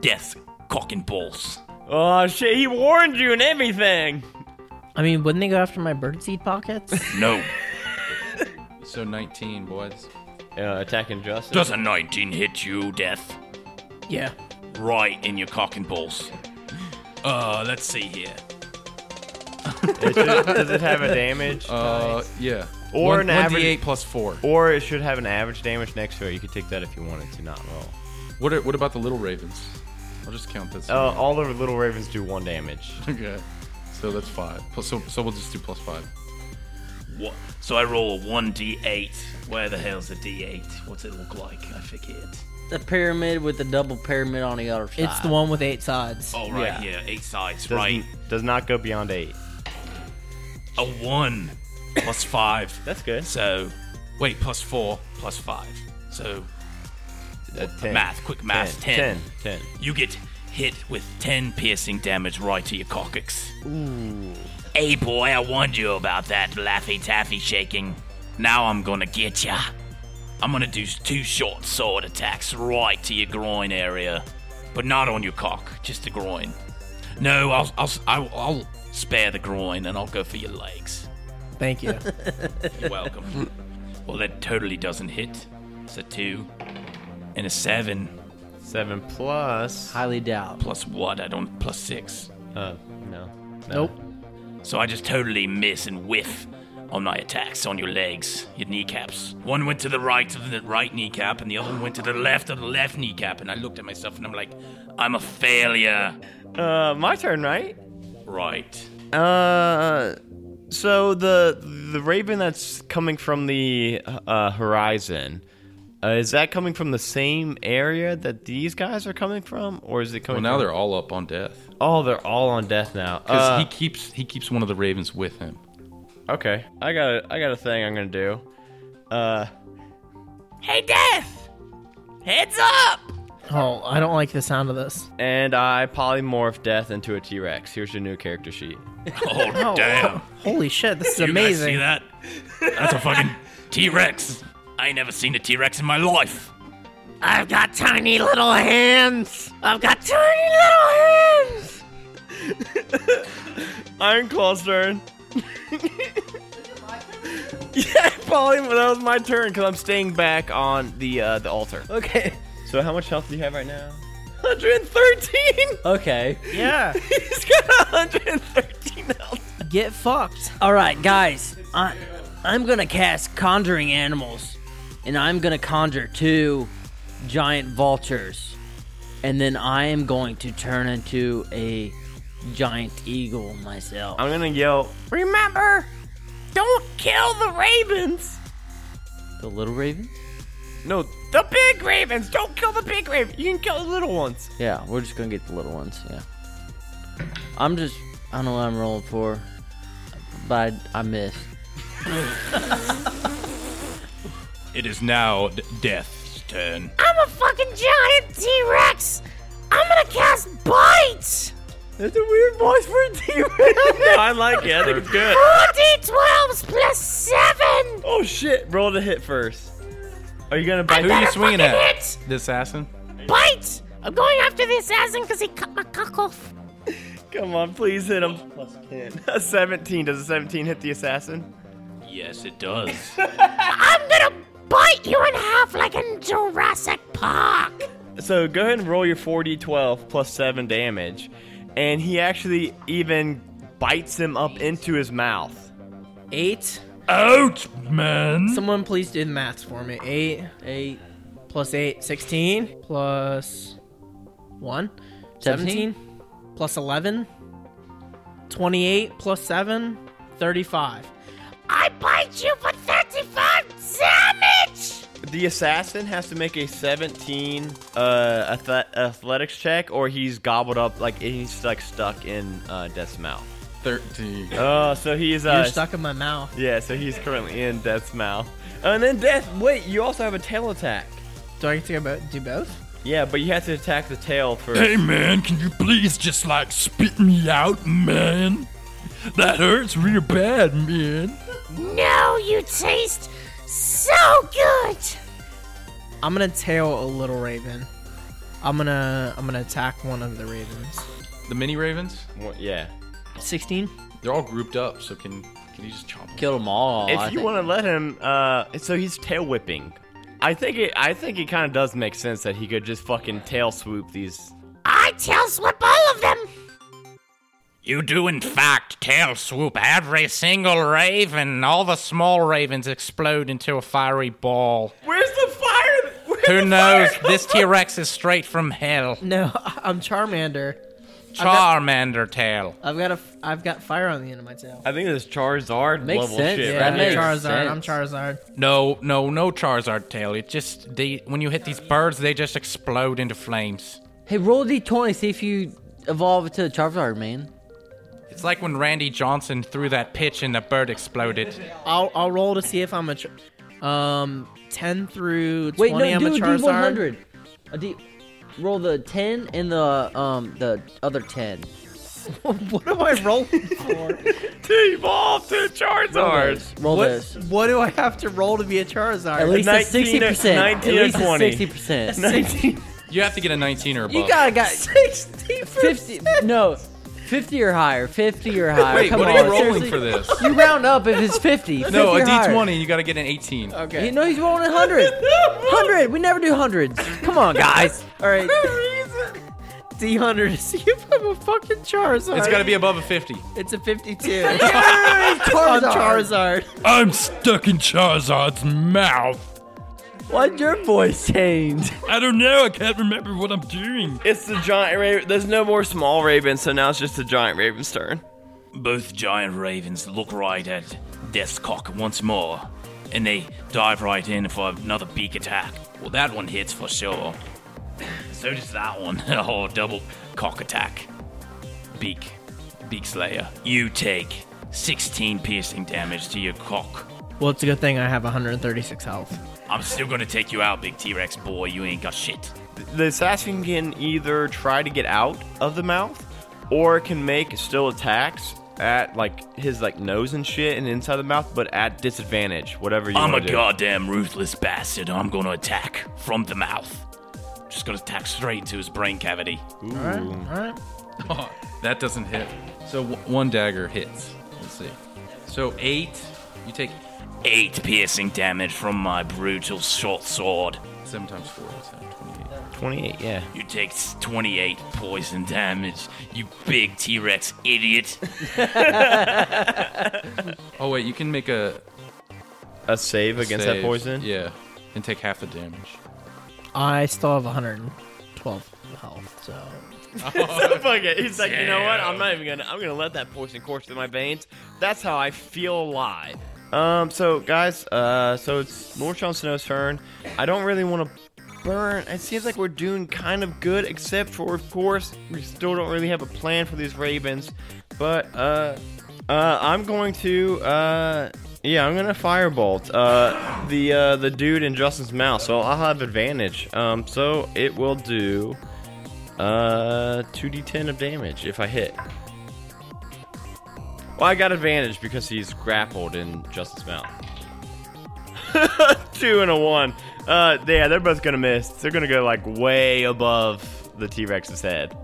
Speaker 10: death's cock and balls.
Speaker 1: cool! Oh shit, he warned you and everything.
Speaker 7: I mean, wouldn't they go after my birdseed
Speaker 11: *laughs*
Speaker 7: pockets?
Speaker 10: No.
Speaker 3: So 19, boys.
Speaker 1: Uh, attacking Justin.
Speaker 10: Does a 19 hit you, Death?
Speaker 7: yeah.
Speaker 10: Right in your cock and balls. Uh, let's see here.
Speaker 1: It should- does it have a damage?
Speaker 3: Uh, yeah.
Speaker 1: Or
Speaker 3: One-
Speaker 1: an average-
Speaker 3: 1d8 plus 4.
Speaker 1: or it should have an average damage next to it. You could take that if you wanted to, not roll.
Speaker 3: What, are, what about the little ravens? I'll just count this.
Speaker 1: Uh, all the little ravens do one damage.
Speaker 3: Okay. So that's 5. Plus, so, so we'll just do plus 5.
Speaker 10: What? So I roll a 1d8. Where the hell's the d8? What's it look like? I forget.
Speaker 8: The pyramid with the double pyramid on the other side.
Speaker 7: It's the one with eight sides.
Speaker 10: Oh, right, yeah, eight sides,
Speaker 1: Does,
Speaker 10: right.
Speaker 1: does not go beyond eight.
Speaker 10: A 1 plus 5.
Speaker 1: That's good.
Speaker 10: So, wait, plus 4 plus 5. So,
Speaker 1: Uh, ten.
Speaker 10: math, quick math, 10.
Speaker 1: Ten. Ten.
Speaker 10: You get hit with 10 piercing damage right to your coccyx. Ooh. Hey, boy, I warned you about that Laffy Taffy shaking. Now I'm gonna get ya. I'm gonna do two short sword attacks right to your groin area. But not on your cock, just the groin. No, I'll, I'll, I'll, I'll spare the groin and I'll go for your legs.
Speaker 7: Thank you.
Speaker 1: *laughs*
Speaker 10: You're welcome. well, that totally doesn't hit. It's a two and a seven.
Speaker 1: Seven plus.
Speaker 8: highly doubt.
Speaker 10: Plus what? I don't. Plus six.
Speaker 1: Uh, no.
Speaker 7: nope.
Speaker 10: So I just totally miss and whiff on my attacks on your legs, your kneecaps. One went to the right of the right kneecap, and the other one went to the left of the left kneecap. And I looked at myself, and I'm like, I'm a failure.
Speaker 1: Uh, my turn, right?
Speaker 10: Right.
Speaker 1: Uh, so the the raven that's coming from the uh, horizon. Uh, is that coming from the same area that these guys are coming from, or is it
Speaker 3: Well,
Speaker 1: coming?
Speaker 3: now
Speaker 1: from-
Speaker 3: they're all up on death.
Speaker 8: Uh,
Speaker 1: oh, they're all on death now.
Speaker 3: Because
Speaker 1: Uh,
Speaker 3: he keeps he keeps one of the ravens with him.
Speaker 1: okay, I got a, I got a thing I'm gonna do. Uh,
Speaker 4: Hey, Death! Heads up!
Speaker 7: Oh, I don't like the sound of this.
Speaker 1: and I polymorph death into a T Rex. Here's your new character sheet.
Speaker 10: Oh, damn!
Speaker 7: Holy shit, this is
Speaker 10: *laughs* You guys see
Speaker 7: amazing.
Speaker 10: that? That's a
Speaker 11: *laughs*
Speaker 10: fucking T-Rex. I ain't never seen a T-Rex in my life.
Speaker 11: I've got tiny little hands. I've got tiny little hands.
Speaker 1: Iron Claw's turn. *laughs* yeah, probably but that was my turn because I'm staying back on the uh, the altar.
Speaker 8: Okay.
Speaker 1: So how much health do you have right now? *laughs*
Speaker 4: 113!
Speaker 8: Okay.
Speaker 7: Yeah.
Speaker 4: He's got 113 health.
Speaker 7: Get fucked.
Speaker 5: All right, guys, I, I'm gonna cast conjuring animals, and I'm gonna conjure two giant vultures, and then I am going to turn into a giant eagle myself.
Speaker 1: I'm gonna yell.
Speaker 4: Remember, don't kill the ravens!
Speaker 8: The little raven?
Speaker 1: No,
Speaker 4: The big ravens! Don't kill the big raven!
Speaker 1: you can kill the little ones.
Speaker 8: Yeah, we're just gonna get the little ones. Yeah. I'm just. I don't know what I'm rolling for, but I, I missed.
Speaker 10: It is now d- Death's turn.
Speaker 11: I'm a fucking giant T Rex. I'm gonna cast bites.
Speaker 1: That's a weird voice for a T *laughs* Rex. I like it. I think it's good.
Speaker 11: 4d12s plus 7.
Speaker 1: Oh shit! Roll the hit first. Are you gonna
Speaker 10: bite? Who are you swinging at?
Speaker 11: Idiot!
Speaker 10: The assassin.
Speaker 11: Bite! I'm going after the assassin because he cut my cock off.
Speaker 1: Come on, please hit him. Plus 10. *laughs* A 17. Does a 17 hit the assassin?
Speaker 10: Yes,
Speaker 1: *laughs*
Speaker 10: it does.
Speaker 11: I'm gonna bite you in half like in Jurassic Park.
Speaker 1: So go ahead and roll your 4d12 plus 7 damage. And he actually even bites him up into his mouth.
Speaker 7: Eight.
Speaker 2: Ouch, man.
Speaker 7: Someone please do the maths for me. Eight. Eight. Plus eight. Sixteen. Plus one.
Speaker 8: Seventeen.
Speaker 7: Seventeen. Plus eleven. Twenty-eight. Plus seven. Thirty-five.
Speaker 11: I bite you for 35 damage!
Speaker 1: The assassin has to make a 17 uh, ath- athletics check, or he's gobbled up, like he's like stuck in uh, Death's mouth.
Speaker 3: 13.
Speaker 1: Oh, so he's uh,
Speaker 7: You're stuck in my mouth.
Speaker 1: Yeah, so he's currently in Death's mouth. Oh, And then Death, wait, you also have a tail attack.
Speaker 7: Do I get to go bo- do both?
Speaker 1: Yeah, but you have to attack the tail first. *laughs*
Speaker 2: Hey, man, can you please just like spit me out, man? That hurts real bad, man.
Speaker 11: No, you taste so good!
Speaker 7: I'm gonna tail a little raven. I'm gonna I'm gonna attack one of the ravens.
Speaker 3: The mini ravens?
Speaker 1: What- Yeah.
Speaker 7: Sixteen.
Speaker 3: They're all grouped up, so can can you just chomp them?
Speaker 8: Kill them all. I
Speaker 1: if you
Speaker 8: think.
Speaker 1: want to let him, uh, so he's tail whipping. I think it. I think it kind of does make sense that he could just fucking tail swoop these.
Speaker 11: I tail whip all of them!
Speaker 10: You do, in fact, tail swoop every single raven. All the small ravens explode into a fiery ball.
Speaker 1: Where's the fire?
Speaker 11: *laughs*
Speaker 10: Who knows? This T Rex is straight from hell.
Speaker 7: No, *laughs* I'm Charmander.
Speaker 10: Charmander tail.
Speaker 7: I've got a f- I've got fire on the end of my tail.
Speaker 1: I think it's Charizard
Speaker 8: Makes
Speaker 1: level
Speaker 8: sense,
Speaker 1: shit. right?
Speaker 8: yeah. That
Speaker 7: I'm
Speaker 8: makes
Speaker 7: Charizard. I'm
Speaker 8: sense.
Speaker 7: Charizard.
Speaker 10: No, no, no Charizard tail. It just they when you hit these birds, they just explode into flames.
Speaker 8: Hey, roll a d20. See if you evolve to a Charizard, man.
Speaker 10: It's like when Randy Johnson threw that pitch and the bird exploded.
Speaker 7: I'll I'll roll to see if I'm a. Char- um, ten through
Speaker 8: Wait,
Speaker 7: twenty.
Speaker 8: no,
Speaker 7: I'm
Speaker 8: do
Speaker 7: a
Speaker 8: a
Speaker 7: Charizard.
Speaker 8: d100. A d. Roll the 10 and the um the other 10.
Speaker 7: what am I
Speaker 8: *laughs*
Speaker 7: rolling for?
Speaker 1: T-ball to
Speaker 8: Roll
Speaker 1: Charizard.
Speaker 8: this. Roll
Speaker 7: what,
Speaker 8: this.
Speaker 7: what do I have to roll to be a Charizard?
Speaker 8: At least a
Speaker 1: 19
Speaker 8: 60 percent. At
Speaker 1: 19 or
Speaker 8: least a
Speaker 1: 20.
Speaker 8: 60 *laughs* percent.
Speaker 1: Nineteen.
Speaker 3: You have to get a 19 or above.
Speaker 8: You gotta got
Speaker 7: *laughs* *laughs* sixty.
Speaker 8: 50. No, 50 or higher. 50 or higher.
Speaker 3: Wait,
Speaker 8: Come
Speaker 3: what
Speaker 8: on,
Speaker 3: are you rolling
Speaker 8: seriously?
Speaker 3: for this?
Speaker 8: You round up if it's 50. 50
Speaker 3: *laughs* no, a
Speaker 8: or higher.
Speaker 3: D20, you gotta get an 18.
Speaker 8: He,
Speaker 7: *laughs*
Speaker 8: no, he's rolling
Speaker 3: *laughs*
Speaker 8: 100. 100. We never do hundreds. Come on, *laughs* guys.
Speaker 7: All right. D hundred to see if I'm a fucking Charizard.
Speaker 3: It's gotta be above a 50.
Speaker 7: It's a fifty-two.
Speaker 3: *laughs*
Speaker 7: I'm Charizard.
Speaker 2: I'm stuck in Charizard's mouth.
Speaker 8: Why'd your voice change?
Speaker 2: I don't know. I can't remember what I'm doing.
Speaker 1: It's the giant raven. There's no more small raven, so now it's just the giant raven's turn.
Speaker 10: Both giant ravens look right at Death's cock once more, and they dive right in for another beak attack. Well, that one hits for sure. *laughs* So does that one. *laughs* Oh, double cock attack. Beak. Beak Slayer. You take 16 piercing damage to your cock.
Speaker 7: Well, it's a good thing I have 136 health.
Speaker 10: I'm still gonna take you out, big T Rex boy. You ain't got shit.
Speaker 1: The assassin can either try to get out of the mouth, or can make still attacks at like his like nose and shit and inside the mouth, but at disadvantage. Whatever you
Speaker 10: I'm a
Speaker 1: want to do.
Speaker 10: goddamn ruthless bastard. I'm gonna attack from the mouth. Just gonna attack straight into his brain cavity.
Speaker 7: All right.
Speaker 3: Oh, that doesn't hit. So w- one dagger hits. Let's see. So eight. You take
Speaker 10: Eight piercing damage from my brutal short sword.
Speaker 3: seven times four. That's how, 28.
Speaker 1: 28. Yeah.
Speaker 10: You take s- 28 poison damage, you big T Rex
Speaker 1: *laughs*
Speaker 10: idiot.
Speaker 3: Oh wait, you can make a
Speaker 1: A save against that
Speaker 3: save.
Speaker 1: poison.
Speaker 3: Yeah, and take half the damage.
Speaker 7: I still have 112 health, so
Speaker 1: *laughs* Fuck it. He's like, you know what? I'm not even gonna. I'm gonna let that poison course through my veins. That's how I feel alive. Um. So guys. Uh. So it's Norchon Snow's turn. I don't really want to burn. It seems like we're doing kind of good, except for of course we still don't really have a plan for these ravens. But uh. Uh. I'm going to uh. Yeah, I'm gonna firebolt uh, the uh, the dude in Justin's mouth, so I'll have advantage. Um, so it will do uh, 2d10 of damage if I hit. Well, I got advantage because he's grappled in Justin's mouth. *laughs* two and a one. Uh, yeah, they're both gonna miss. They're gonna go like way above the T Rex's head.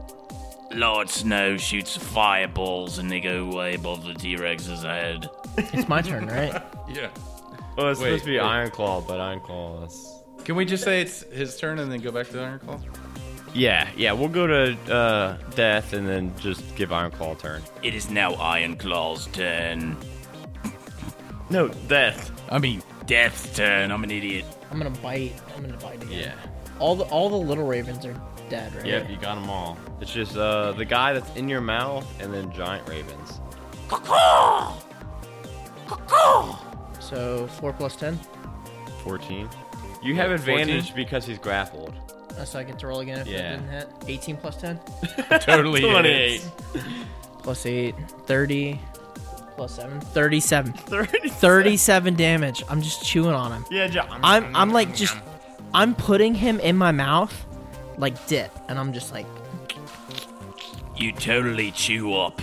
Speaker 12: Lord Snow shoots fireballs and they go way above the T Rex's head.
Speaker 7: It's my turn, right?
Speaker 2: Yeah.
Speaker 1: Well, it's
Speaker 3: Wait,
Speaker 1: supposed to be
Speaker 3: wait.
Speaker 1: Iron Claw, but Iron Claw is.
Speaker 3: Can we just say it's his turn and then go back to Iron Claw?
Speaker 1: Yeah, yeah. We'll go to uh, death and then just give Iron Claw a turn.
Speaker 12: It is now Iron Claw's turn.
Speaker 1: No, death.
Speaker 10: I mean,
Speaker 12: Death's turn. I'm an idiot.
Speaker 7: I'm gonna bite. I'm gonna bite again.
Speaker 1: Yeah.
Speaker 7: All the all the little ravens are dead, right?
Speaker 1: Yep, you got them all. It's just uh, the guy that's in your mouth and then giant ravens.
Speaker 7: So four plus ten.
Speaker 1: 14. You have
Speaker 7: Yeah, 14.
Speaker 1: advantage because he's grappled.
Speaker 7: Uh, so I get to roll again if
Speaker 1: Yeah.
Speaker 7: I didn't hit. 18 plus 10?
Speaker 1: Totally 28. hits.
Speaker 7: Plus 8. 30. Plus 7. *laughs* 37. 37. damage. I'm just chewing on him.
Speaker 1: Yeah, ju-
Speaker 7: I'm, I'm like just. I'm putting him in my mouth like dip. And I'm just like.
Speaker 12: You totally chew up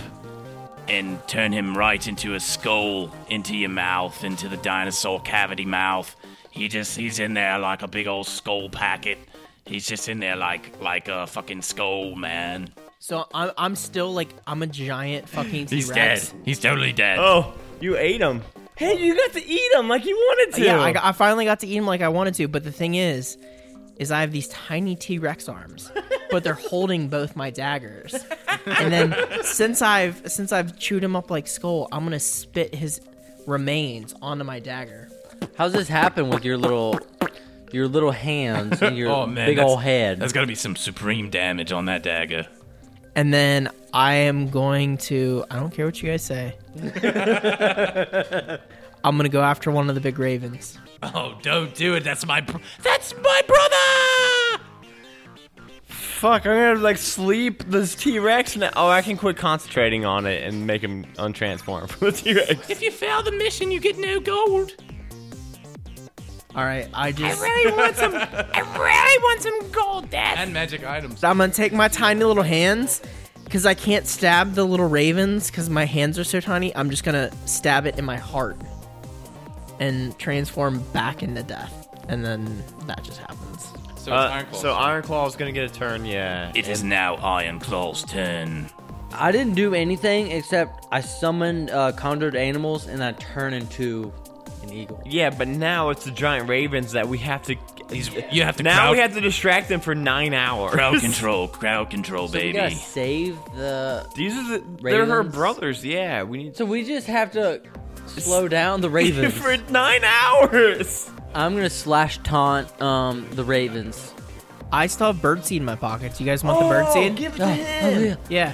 Speaker 12: and turn him right into a skull, into your mouth, into the dinosaur cavity mouth. He just he's in there like a big old skull packet. He's just in there like like a fucking skull man.
Speaker 7: So I'm, I'm still like. I'm a giant fucking T
Speaker 12: He's
Speaker 7: Rex.
Speaker 12: dead. He's totally dead.
Speaker 1: Oh, you ate him. Hey, you got to eat him like you wanted
Speaker 7: Yeah, I, got- I finally got to eat him like I wanted to. But the thing is. Is I have these tiny T Rex arms, but they're holding both my daggers. and then since I've since I've chewed him up like skull, I'm gonna spit his remains onto my dagger.
Speaker 8: How's this happen with your little your little hands and
Speaker 1: *laughs*
Speaker 8: your
Speaker 1: Oh,
Speaker 8: big
Speaker 12: that's-
Speaker 8: old head?
Speaker 12: That's gotta be some supreme damage on that dagger.
Speaker 7: And then I am going to I don't care what you
Speaker 1: *laughs*
Speaker 7: guys say. I'm gonna go after one of the big ravens.
Speaker 12: Oh, don't do it. That's my br- that's my brother.
Speaker 1: Fuck, I'm gonna like sleep this T Rex now. Oh, I can quit concentrating on it and make him untransform *laughs* from a T Rex.
Speaker 11: If you fail the mission, you get no gold.
Speaker 7: All right, I just
Speaker 11: really want some. I really want some gold, Dad.
Speaker 3: And magic items.
Speaker 7: I'm gonna take my tiny little hands because I can't stab the little ravens because my hands are so tiny. I'm just gonna stab it in my heart and transform back into death, and then that just happens.
Speaker 3: So
Speaker 1: Uh, so Iron Claw is gonna get a turn, yeah.
Speaker 12: It is now Iron Claw's turn.
Speaker 8: I didn't do anything except I summoned uh, conjured animals and I turn into an eagle.
Speaker 1: Yeah, but now it's the giant ravens that we have to.
Speaker 12: you have to
Speaker 1: Now
Speaker 12: crowd-
Speaker 1: we have to distract them for nine hours. *laughs*
Speaker 12: Crowd control, crowd control,
Speaker 8: So we gotta
Speaker 12: baby.
Speaker 8: save the.
Speaker 1: These are the. They're her
Speaker 8: Ravens?
Speaker 1: brothers. Yeah, we
Speaker 11: *laughs*
Speaker 1: need
Speaker 8: So we just have to
Speaker 1: *laughs*
Speaker 8: slow down the ravens.
Speaker 1: for nine hours.
Speaker 8: I'm gonna slash taunt um the ravens.
Speaker 7: I still have birdseed in my pockets. You guys want the
Speaker 11: Oh,
Speaker 1: Oh,
Speaker 7: birdseed?
Speaker 8: it to him.
Speaker 7: yeah.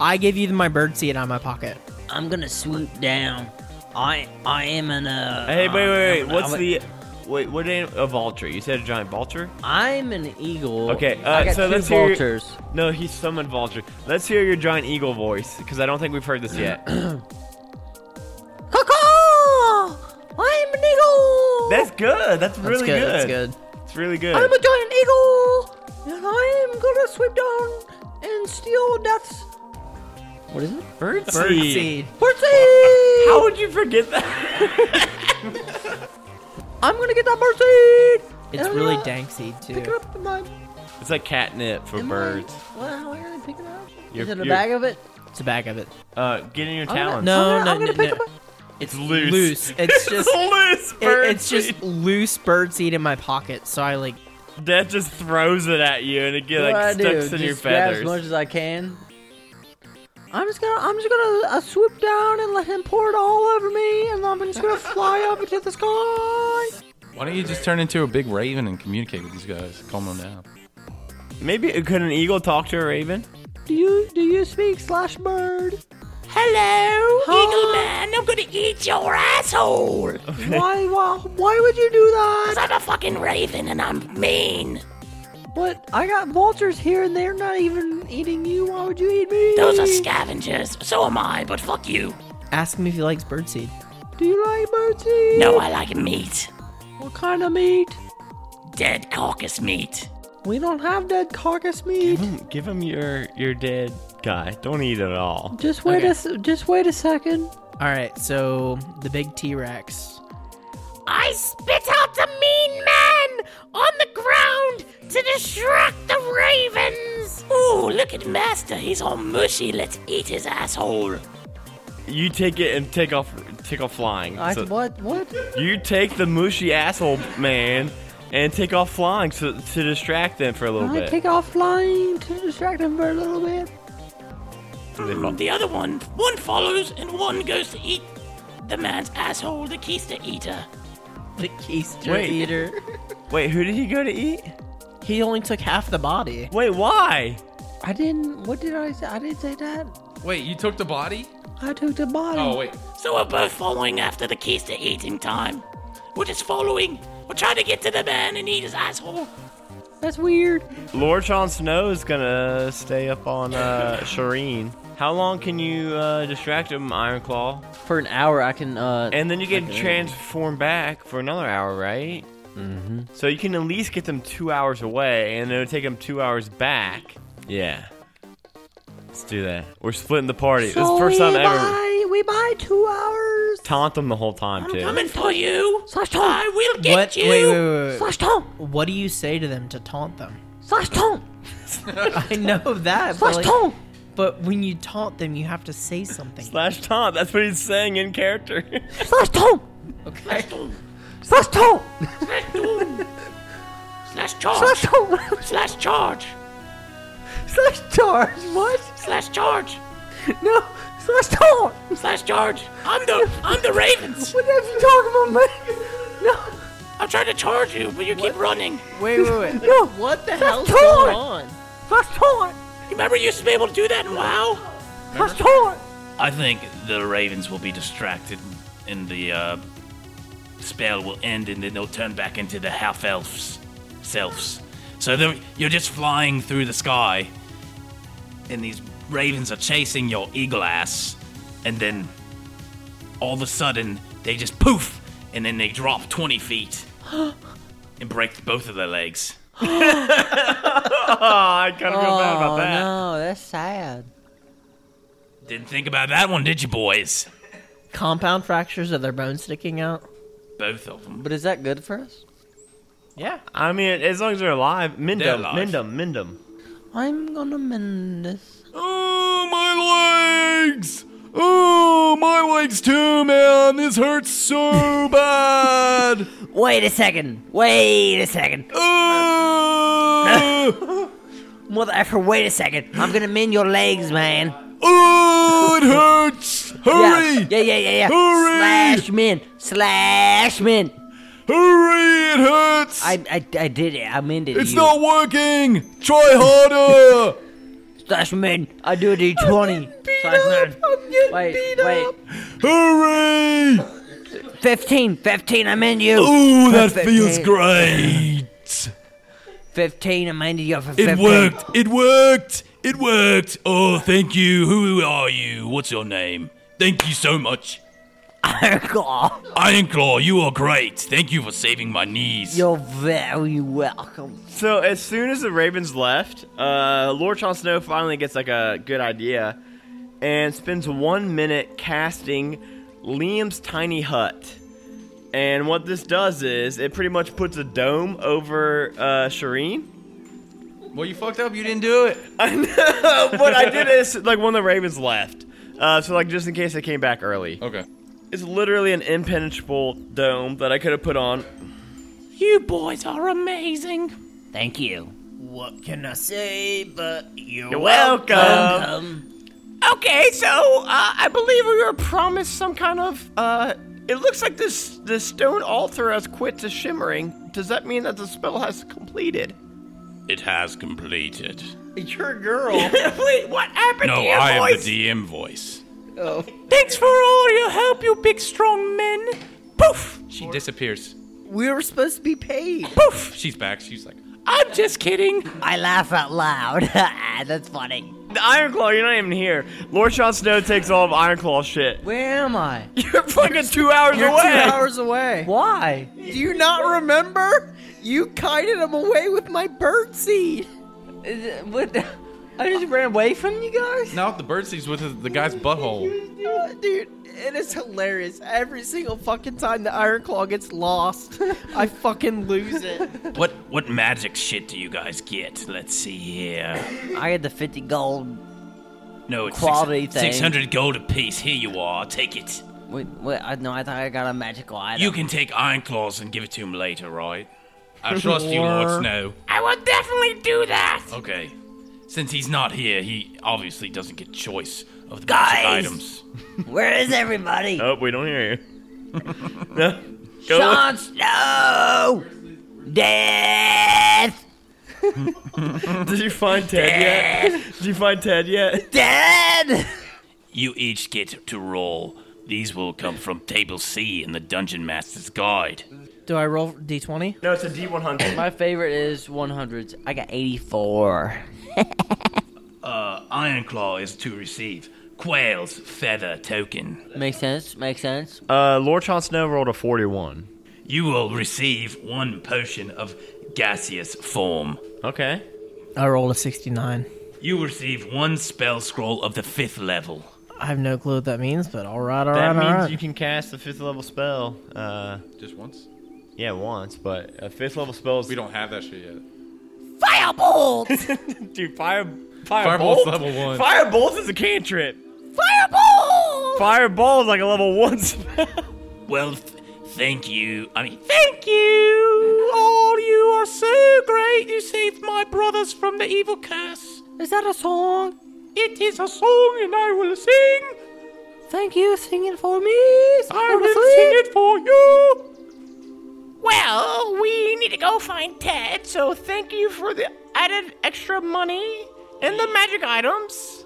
Speaker 7: I give you my birdseed out of my pocket.
Speaker 5: I'm gonna swoop down. I I am an uh.
Speaker 1: Hey, wait, wait,
Speaker 5: um,
Speaker 1: wait. What's
Speaker 5: I'm-
Speaker 1: the? Wait, what? anim- A vulture? You said a giant vulture?
Speaker 8: I'm an eagle.
Speaker 1: Okay, uh,
Speaker 8: I got
Speaker 1: so
Speaker 8: two
Speaker 1: let's hear.
Speaker 8: vultures.
Speaker 1: No, he summoned vulture. Let's hear your giant eagle voice because I don't think we've heard this yet. *clears throat*
Speaker 11: Caw-caw! I'm an eagle.
Speaker 1: That's good. That's
Speaker 7: That's
Speaker 1: really
Speaker 7: good.
Speaker 1: good.
Speaker 7: That's good.
Speaker 1: It's really good.
Speaker 11: I'm a giant eagle, and I am gonna swoop down and steal death's
Speaker 8: What is it?
Speaker 1: Birdseed.
Speaker 7: Birdseed.
Speaker 11: birdseed.
Speaker 1: *laughs* How would you forget that? *laughs*
Speaker 11: I'm gonna get that birdseed.
Speaker 7: It's
Speaker 11: and
Speaker 7: really
Speaker 11: I'm gonna
Speaker 7: dank seed too.
Speaker 11: Uh, Pick it up in my.
Speaker 1: It's like catnip for
Speaker 11: in my-
Speaker 1: birds.
Speaker 11: Well, how am I gonna pick it up?
Speaker 1: You're-
Speaker 11: Is it a
Speaker 1: you're-
Speaker 11: bag of it?
Speaker 7: It's a bag of it.
Speaker 1: Uh, get in your
Speaker 11: gonna-
Speaker 1: talons.
Speaker 7: No,
Speaker 11: I'm
Speaker 7: no,
Speaker 11: gonna, I'm
Speaker 7: no,
Speaker 11: gonna pick
Speaker 7: no.
Speaker 11: up. a-
Speaker 7: It's loose. Loose.
Speaker 1: *laughs*
Speaker 7: It's just
Speaker 1: loose
Speaker 7: it- it's just loose birdseed in my pocket. So I like
Speaker 1: Death just throws it at you and it get, like
Speaker 8: what do I do?
Speaker 1: sticks in
Speaker 8: Just
Speaker 1: your
Speaker 8: grab
Speaker 1: feathers.
Speaker 8: as much as I can.
Speaker 11: I'm just gonna, I'm just gonna uh, swoop down and let him pour it all over me, and I'm just gonna fly up into the sky.
Speaker 3: Why don't you just turn into a big raven and communicate with these guys? Calm them down.
Speaker 1: Maybe uh, could an eagle talk to a raven?
Speaker 11: Do you, do you speak slash
Speaker 7: *laughs*
Speaker 11: bird?
Speaker 12: Hello,
Speaker 11: Eagle
Speaker 12: Man. I'm gonna eat your asshole.
Speaker 11: Why, why, why would you do that?
Speaker 12: I'm a fucking raven and I'm mean.
Speaker 11: But I got vultures here, and they're not even eating you. Why would you eat me?
Speaker 12: scavengers. So am I, but fuck you.
Speaker 7: ask him if he likes birdseed.
Speaker 11: Do you like birdseed?
Speaker 12: I like meat.
Speaker 11: What kind of meat?
Speaker 12: Dead carcass meat.
Speaker 11: We don't have dead carcass meat.
Speaker 1: Give him your your dead guy. Don't eat it all.
Speaker 11: Just wait
Speaker 7: Okay.
Speaker 11: a s a, just wait a second.
Speaker 7: All right, so the big T Rex.
Speaker 11: I spit out the meat.
Speaker 6: distract the ravens! Ooh, look at Master. He's all mushy. Let's eat his asshole.
Speaker 1: You take it and take off, take off flying.
Speaker 11: I,
Speaker 1: So-
Speaker 11: what? What?
Speaker 1: You take the mushy asshole man and take off flying to, to distract them for a little
Speaker 11: I
Speaker 1: bit.
Speaker 11: take off flying to distract him for a little bit.
Speaker 1: They fall-
Speaker 6: The other one, one follows and one goes to eat the man's asshole, the keister eater.
Speaker 7: The keister
Speaker 1: Wait.
Speaker 7: eater.
Speaker 1: *laughs* Wait, who did he go to eat?
Speaker 7: He only took half the body.
Speaker 1: Wait, why?
Speaker 11: I didn't. What did I say? I didn't say that.
Speaker 4: Wait, you took the body?
Speaker 11: I took the body.
Speaker 4: Oh, wait.
Speaker 6: So we're both following after the keister eating time. We're just following. We're trying to get to the man and eat his asshole.
Speaker 11: That's weird.
Speaker 1: Lord Sean Snow is gonna stay up on
Speaker 11: *laughs*
Speaker 1: uh, Shireen. How long can you uh, distract him, Iron Claw?
Speaker 11: For an hour, I can. uh
Speaker 1: And then you
Speaker 11: I
Speaker 1: can
Speaker 11: can-
Speaker 1: transform back for another hour, right? Mm-hmm. So you can at least get them two hours away, and it'll take them two hours back. Yeah. Let's do that. We're splitting the party. this is the first time
Speaker 11: we
Speaker 1: ever.
Speaker 11: Buy, we buy two hours.
Speaker 1: Taunt them the whole time, too.
Speaker 6: Coming for you.
Speaker 11: Slash
Speaker 6: Tom. I will get
Speaker 7: what?
Speaker 6: you.
Speaker 7: Wait, wait, wait, wait.
Speaker 11: Slash Tom.
Speaker 7: What do you say to them to taunt them? *laughs*
Speaker 11: Slash Tom.
Speaker 7: I know that.
Speaker 11: Slash
Speaker 7: but like,
Speaker 11: taunt.
Speaker 7: But when you taunt them, you have to say something.
Speaker 1: Slash taunt. That's what he's saying in character. *laughs*
Speaker 11: Slash Tom.
Speaker 7: Okay.
Speaker 11: Slash Tom.
Speaker 6: Slash charge.
Speaker 11: Slash Tom.
Speaker 6: Slash charge.
Speaker 11: Slash charge. What?
Speaker 6: Slash charge.
Speaker 11: No. Slash Tom.
Speaker 6: Slash charge. I'm the I'm the Ravens.
Speaker 11: What are you talking about, man? No.
Speaker 6: I'm trying to charge you, but you keep running.
Speaker 7: Wait, wait, wait.
Speaker 11: No.
Speaker 7: What the
Speaker 11: Slash
Speaker 7: hell's
Speaker 11: Tom.
Speaker 7: going on?
Speaker 11: Slash Tom.
Speaker 6: Remember, you used to be able to do that in WoW.
Speaker 11: Slash Tom.
Speaker 10: I think the Ravens will be distracted, and the uh, spell will end, and then they'll turn back into the half elves selves. So they're- you're just flying through the sky, and these ravens are chasing your eagle ass, and then all of a sudden they just poof, and then they drop 20 feet and break both of their legs. *laughs*
Speaker 1: I kind of feel bad about that.
Speaker 11: no, Oh, that's sad.
Speaker 10: Didn't think about that one, did you, boys?
Speaker 7: Compound fractures of their bones sticking out.
Speaker 10: Both of them.
Speaker 11: But is that good for us?
Speaker 7: Yeah.
Speaker 1: I mean, as long as they're alive, mend
Speaker 10: They're
Speaker 1: them,
Speaker 10: alive.
Speaker 1: mend them, mend them.
Speaker 11: I'm gonna mend this.
Speaker 4: Oh, my legs! Oh, my legs too, man! This hurts so bad!
Speaker 11: Wait a second. Wait
Speaker 4: *laughs*
Speaker 11: a second.
Speaker 4: Oh!
Speaker 11: Mother effer, wait a second. I'm gonna mend your legs, man.
Speaker 4: Oh, it hurts! Hurry!
Speaker 11: Yeah, yeah, yeah, yeah. yeah.
Speaker 4: Hurry!
Speaker 11: Slash men. Slash men.
Speaker 4: Hurry! It hurts!
Speaker 11: I, I, I did it. I mended
Speaker 4: it's
Speaker 11: you.
Speaker 4: not working! Try
Speaker 11: *laughs*
Speaker 4: harder!
Speaker 11: Slash men. I do a D20. Slash men. Wait, wait.
Speaker 4: Hurry!
Speaker 11: 15. 15. I mend you.
Speaker 4: Ooh, that
Speaker 11: Perfect.
Speaker 4: feels great!
Speaker 11: 15. I mended you for 15.
Speaker 4: It worked! It worked! It worked!
Speaker 10: Oh, thank you. Who are you? What's your name? Thank you so much. Ironclaw, you are great. Thank you for saving my knees.
Speaker 11: You're very welcome.
Speaker 1: So as soon as the Ravens left, uh, Lord Jon Snow finally gets like a good idea, and spends one minute casting Liam's tiny hut. And what this does is it pretty much puts a dome over uh, Shireen.
Speaker 4: Well, you fucked up. You didn't do it.
Speaker 1: I *laughs* know, but I did this like when the Ravens left, uh, so like just in case they came back early.
Speaker 4: Okay.
Speaker 1: It's literally an impenetrable dome that I could have put on.
Speaker 6: You boys are amazing.
Speaker 11: Thank you.
Speaker 13: What can I say but you're,
Speaker 1: You're welcome.
Speaker 3: Okay, so uh, I believe we were promised some kind of. Uh, it looks like this this stone altar has quit to shimmering. Does that mean that the spell has completed?
Speaker 10: It has completed.
Speaker 7: Your girl.
Speaker 3: *laughs* Wait, what happened
Speaker 10: No,
Speaker 3: to your
Speaker 10: I am
Speaker 3: voice?
Speaker 10: the DM voice.
Speaker 3: Thanks for all your help, you big strong men. Poof,
Speaker 4: She disappears.
Speaker 7: We were supposed to be paid.
Speaker 3: poof.
Speaker 4: She's back. She's like,
Speaker 3: I'm just kidding.
Speaker 11: I laugh out loud. *laughs* That's funny.
Speaker 1: The Ironclaw, you're not even here. Lord Jon Snow takes all of Ironclaw's shit.
Speaker 11: Where am I?
Speaker 1: You're fucking two hours
Speaker 7: You're
Speaker 1: away.
Speaker 7: two hours away.
Speaker 11: Why?
Speaker 7: Do you not remember? You kited him away with my birdseed.
Speaker 11: Is it- What? the-
Speaker 14: I just ran away from you guys?
Speaker 3: No, the birdseed's with his- the guy's butthole.
Speaker 7: Dude, it is hilarious. Every single fucking time the Iron Claw gets lost, I fucking lose it.
Speaker 10: What what magic shit do you guys get? Let's see here.
Speaker 8: I had the 50 gold.
Speaker 10: No, it's
Speaker 8: Quality
Speaker 10: six,
Speaker 8: thing.
Speaker 10: 600 gold apiece. Here you are. Take it.
Speaker 8: Wait, wait, I, no, I thought I got a magical item.
Speaker 10: You can take Iron Claws and give it to him later, right?
Speaker 8: I trust you, Lord Or-
Speaker 10: Snow.
Speaker 4: I will definitely do that.
Speaker 10: Okay. Since he's not here, he obviously doesn't get choice of the magic
Speaker 4: Guys!
Speaker 10: items.
Speaker 4: Where is everybody?
Speaker 1: Oh, we don't hear you. Go.
Speaker 4: Sean Snow! Death!
Speaker 1: *laughs* Did you find Ted yet? Did you find Ted yet?
Speaker 4: Dead!
Speaker 10: You each get to roll. These will come from Table C in the Dungeon Master's Guide.
Speaker 7: Do I roll d20?
Speaker 1: No, it's a d100.
Speaker 8: My favorite is 100s. I got 84.
Speaker 10: Uh, Iron Claw is to receive Quail's Feather Token.
Speaker 8: Makes sense. Makes sense.
Speaker 1: Uh, Lord Chon Snow rolled a 41.
Speaker 10: You will receive one potion of gaseous form.
Speaker 1: Okay.
Speaker 7: I rolled a 69.
Speaker 10: You receive one spell scroll of the fifth level.
Speaker 7: I have no clue what that means, but all right, all right,
Speaker 1: That
Speaker 7: all
Speaker 1: means
Speaker 7: right.
Speaker 1: you can cast the fifth level spell. Uh,
Speaker 3: Just once?
Speaker 1: Yeah, once, but a fifth level spell is. We
Speaker 3: don't have that shit yet.
Speaker 1: Firebolt! Dude, fire,
Speaker 3: Firebolt's
Speaker 1: firebolt?
Speaker 3: level one.
Speaker 1: Firebolt is a cantrip.
Speaker 4: Fireball!
Speaker 1: Fireball is like a level one *laughs* spell.
Speaker 10: Well, th- thank you. I mean,
Speaker 6: Thank you! Lord, you are so great. You saved my brothers from the evil curse. Is that a song? It is a song, and I will sing. Thank you, sing it for me. I will sing it for you.
Speaker 4: Well, we need to go find Ted, so thank you for the added extra money and the magic items.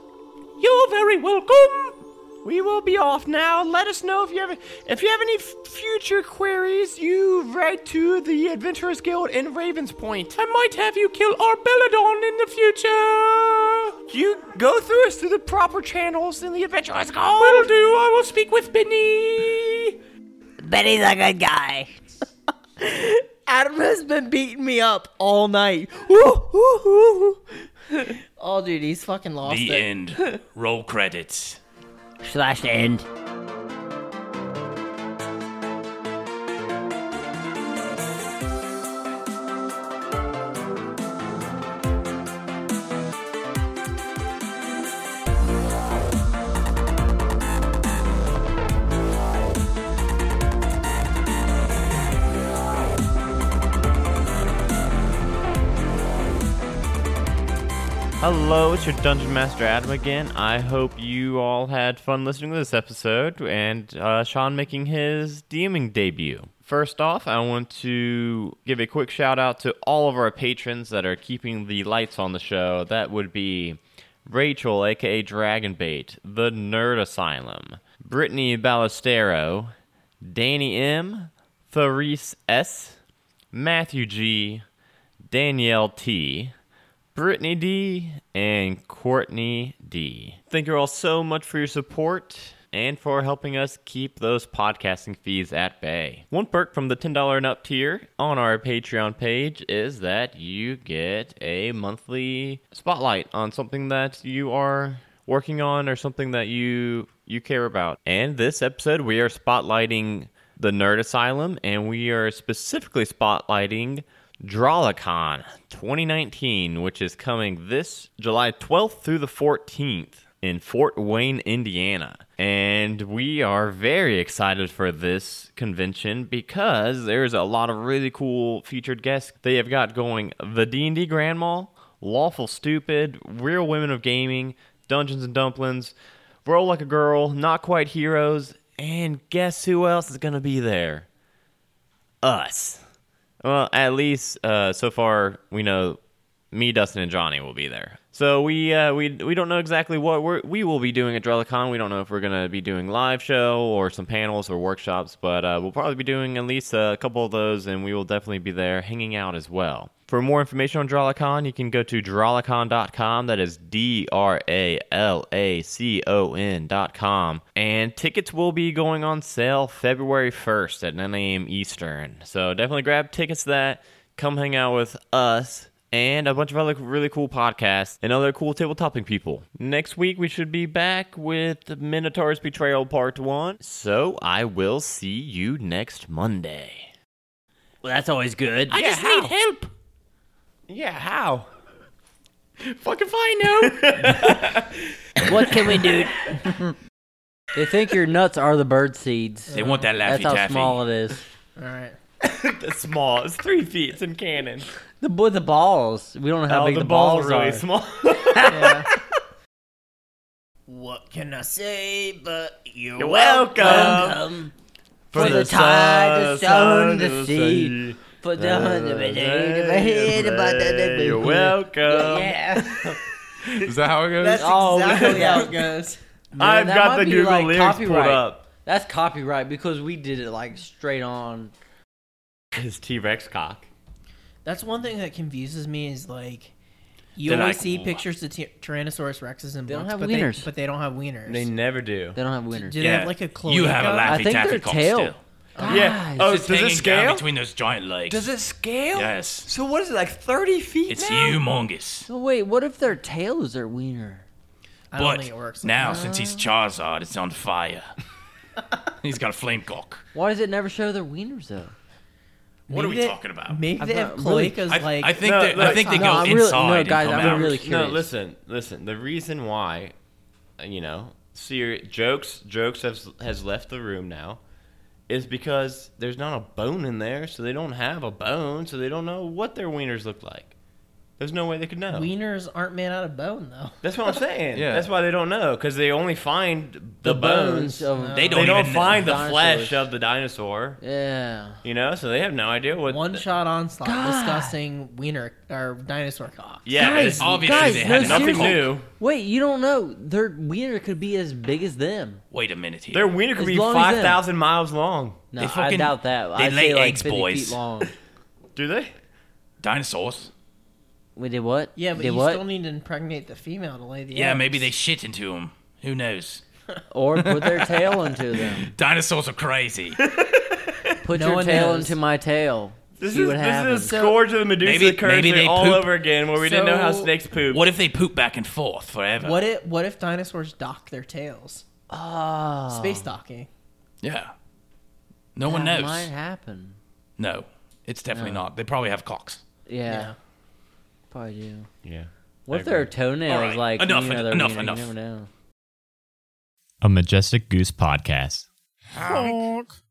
Speaker 6: You're very welcome. We will be off now. Let us know if you have if you have any f- future queries. You write to the Adventurers Guild in Ravens Point. I might have you kill Arbelladon in the future. You go through us through the proper channels in the Adventurers Guild. Will do. I will speak with Benny.
Speaker 15: Benny's a good guy.
Speaker 7: Adam has been beating me up all night. oh, dude, he's fucking lost
Speaker 10: the
Speaker 7: it.
Speaker 6: *laughs*
Speaker 10: end. Roll credits.
Speaker 8: Slash end.
Speaker 1: Hello, it's your Dungeon Master Adam again. I hope you all had fun listening to this episode and uh, Sean making his DMing debut. First off, I want to give a quick shout out to all of our patrons that are keeping the lights on the show. That would be Rachel, aka Dragonbait, The Nerd Asylum, Brittany Ballestero, Danny M, Therese S, Matthew G, Danielle T, Brittany D, and Courtney D. Thank you all so much for your support and for helping us keep those podcasting fees at bay. One perk from the $10 and up tier on our Patreon page is that you get a monthly spotlight on something that you are working on or something that you you care about. And this episode we are spotlighting the Nerd Asylum, and we are specifically spotlighting Drawlicon 2019, which is coming this July 12th through the 14th in Fort Wayne, Indiana. And we are very excited for this convention because there's a lot of really cool featured guests they have got going. The D&D Grand Mall, Lawful Stupid, Real Women of Gaming, Dungeons and Dumplings, Roll Like a Girl, Not Quite Heroes, and guess who else is going to be there? Us. Well, at least uh, so far we know me, Dustin, and Johnny will be there. So we uh, we we don't know exactly what we're, we will be doing at Drelicon. We don't know if we're gonna be doing live show or some panels or workshops, but uh, we'll probably be doing at least a couple of those, and we will definitely be there hanging out as well. For more information on Drawlicon, you can go to drawlicon.com. That is D R A L A C O N.com. And tickets will be going on sale February 1st at 9 a.m. Eastern. So definitely grab tickets to that. Come hang out with us and a bunch of other really cool podcasts and other cool tabletopping people. Next week, we should be back with the Minotaur's Betrayal Part 1. So I will see you next Monday.
Speaker 8: Well, that's always good.
Speaker 4: I just need help.
Speaker 1: Yeah, how?
Speaker 4: Fuck if I know.
Speaker 8: what can we do? *laughs* They think your nuts are the bird seeds.
Speaker 10: They want that
Speaker 8: That's
Speaker 10: Laffy
Speaker 8: how
Speaker 10: Taffy.
Speaker 8: small it is.
Speaker 7: All right.
Speaker 1: That's small. *laughs* It's three feet. It's in cannon.
Speaker 8: The boy, the balls. We don't know how
Speaker 1: Oh,
Speaker 8: big
Speaker 1: the
Speaker 8: the
Speaker 1: balls
Speaker 8: balls,
Speaker 1: are really
Speaker 8: are.
Speaker 1: small.
Speaker 16: What can I say but you're,
Speaker 4: You're
Speaker 16: welcome.
Speaker 4: welcome.
Speaker 16: For, the, tide, the stone, the sea. For the
Speaker 4: You're welcome.
Speaker 16: Yeah.
Speaker 11: Is that how it goes?
Speaker 16: That's
Speaker 8: Oh,
Speaker 16: exactly
Speaker 8: yeah.
Speaker 16: how it
Speaker 7: *laughs*
Speaker 16: goes.
Speaker 8: Man,
Speaker 11: I've
Speaker 8: that
Speaker 11: got
Speaker 8: might
Speaker 11: the
Speaker 8: be,
Speaker 11: Google
Speaker 8: like,
Speaker 11: lyrics pulled
Speaker 8: copyright.
Speaker 11: up.
Speaker 8: That's copyright because we did it like straight on.
Speaker 1: His T Rex cock.
Speaker 7: That's one thing that confuses me is like you
Speaker 1: They're
Speaker 7: always
Speaker 1: like,
Speaker 7: see
Speaker 1: "Wha-"
Speaker 7: pictures of ty- Tyrannosaurus rexes and
Speaker 8: They don't
Speaker 7: books,
Speaker 8: have
Speaker 7: but
Speaker 8: wieners.
Speaker 7: they but they don't have wieners.
Speaker 1: They never do.
Speaker 8: They don't have wieners.
Speaker 7: Do they have, like, a You have a cloaca?
Speaker 10: Laffy
Speaker 8: I think
Speaker 10: Taffy
Speaker 8: their
Speaker 10: cock
Speaker 8: tail.
Speaker 10: still.
Speaker 1: Yeah.
Speaker 10: It's
Speaker 1: Oh,
Speaker 10: just
Speaker 1: does it
Speaker 10: hanging
Speaker 1: scale?
Speaker 10: down between those giant legs.
Speaker 1: Does it scale?
Speaker 10: Yes.
Speaker 1: So what is it like thirty feet?
Speaker 10: It's
Speaker 1: now?
Speaker 10: humongous.
Speaker 8: So wait, what if their tail is their wiener?
Speaker 7: I
Speaker 10: but now, since he's Charizard, it's on
Speaker 1: *laughs*
Speaker 10: fire. he's got a flame cock.
Speaker 8: Why does it never show their wieners though?
Speaker 10: What are we talking about?
Speaker 7: Maybe
Speaker 8: I've
Speaker 7: they
Speaker 8: got
Speaker 7: have
Speaker 8: really-
Speaker 7: cloacas.
Speaker 10: I-
Speaker 7: like
Speaker 10: I think No, that- I look, think they no, go I'm really- inside no, and guys, come I'm out. really
Speaker 1: No,
Speaker 10: curious.
Speaker 1: listen, listen. The reason why, uh, you know, ser- jokes jokes has has left the room now, is because there's not a bone in there, so they don't have a bone, so they don't know what their wieners look like. There's no way they could know.
Speaker 7: wieners aren't made out of bone though.
Speaker 1: That's what I'm
Speaker 7: *laughs*
Speaker 1: saying. That's why they don't know because they only find the,
Speaker 7: The
Speaker 1: bones.
Speaker 7: bones of-
Speaker 1: they
Speaker 7: They
Speaker 1: don't,
Speaker 7: don't even know.
Speaker 1: find the
Speaker 7: Dinosaurs.
Speaker 1: flesh of the dinosaur.
Speaker 8: Yeah.
Speaker 1: You know, so they have no idea what.
Speaker 7: One shot onslaught discussing wiener or dinosaur cock.
Speaker 1: Yeah, but it's obviously they had
Speaker 8: no,
Speaker 1: nothing
Speaker 8: seriously.
Speaker 1: new.
Speaker 8: Wait, you don't know their wiener could be as big as them.
Speaker 10: Wait a minute here.
Speaker 1: Their wiener could
Speaker 8: As
Speaker 1: be
Speaker 8: long as them.
Speaker 1: five thousand miles long.
Speaker 8: No, I doubt that.
Speaker 10: they
Speaker 8: I'd
Speaker 10: lay
Speaker 8: say like
Speaker 10: eggs,
Speaker 8: 50
Speaker 10: boys.
Speaker 8: feet
Speaker 10: *laughs*
Speaker 8: long.
Speaker 1: Do they?
Speaker 10: Dinosaurs.
Speaker 8: We did what?
Speaker 7: Yeah, but
Speaker 8: Did
Speaker 7: you
Speaker 8: what?
Speaker 7: still need to impregnate the female to lay the
Speaker 10: Yeah,
Speaker 7: eggs.
Speaker 10: maybe they shit into him. Who knows?
Speaker 8: or put their tail
Speaker 7: *laughs*
Speaker 8: into them.
Speaker 10: Dinosaurs are crazy.
Speaker 8: Put
Speaker 7: No
Speaker 8: your
Speaker 7: one
Speaker 8: tail
Speaker 7: knows.
Speaker 8: into my tail.
Speaker 1: This
Speaker 8: See
Speaker 1: is
Speaker 8: what
Speaker 1: this
Speaker 8: happens.
Speaker 1: is Scourge of the Medusa
Speaker 10: Maybe-
Speaker 1: currently
Speaker 10: maybe they
Speaker 1: all
Speaker 10: poop-
Speaker 1: over again, where we didn't know how
Speaker 7: So-
Speaker 1: snakes poop.
Speaker 10: What *laughs* if they poop back and forth forever?
Speaker 7: What if what if dinosaurs dock their tails?
Speaker 8: Ah,
Speaker 7: Space docking.
Speaker 10: Yeah. No one
Speaker 8: That
Speaker 10: knows.
Speaker 8: might happen.
Speaker 10: No, it's definitely
Speaker 8: No.
Speaker 10: not. They probably have cocks.
Speaker 8: Yeah. Probably do.
Speaker 1: Yeah.
Speaker 8: What if
Speaker 10: I
Speaker 8: their
Speaker 10: agree.
Speaker 8: toenails
Speaker 10: All right,
Speaker 8: like
Speaker 10: enough,
Speaker 8: you know, their
Speaker 10: enough,
Speaker 8: wiener,
Speaker 10: enough.
Speaker 8: You never know.
Speaker 1: A Majestic Goose podcast.
Speaker 4: Honk.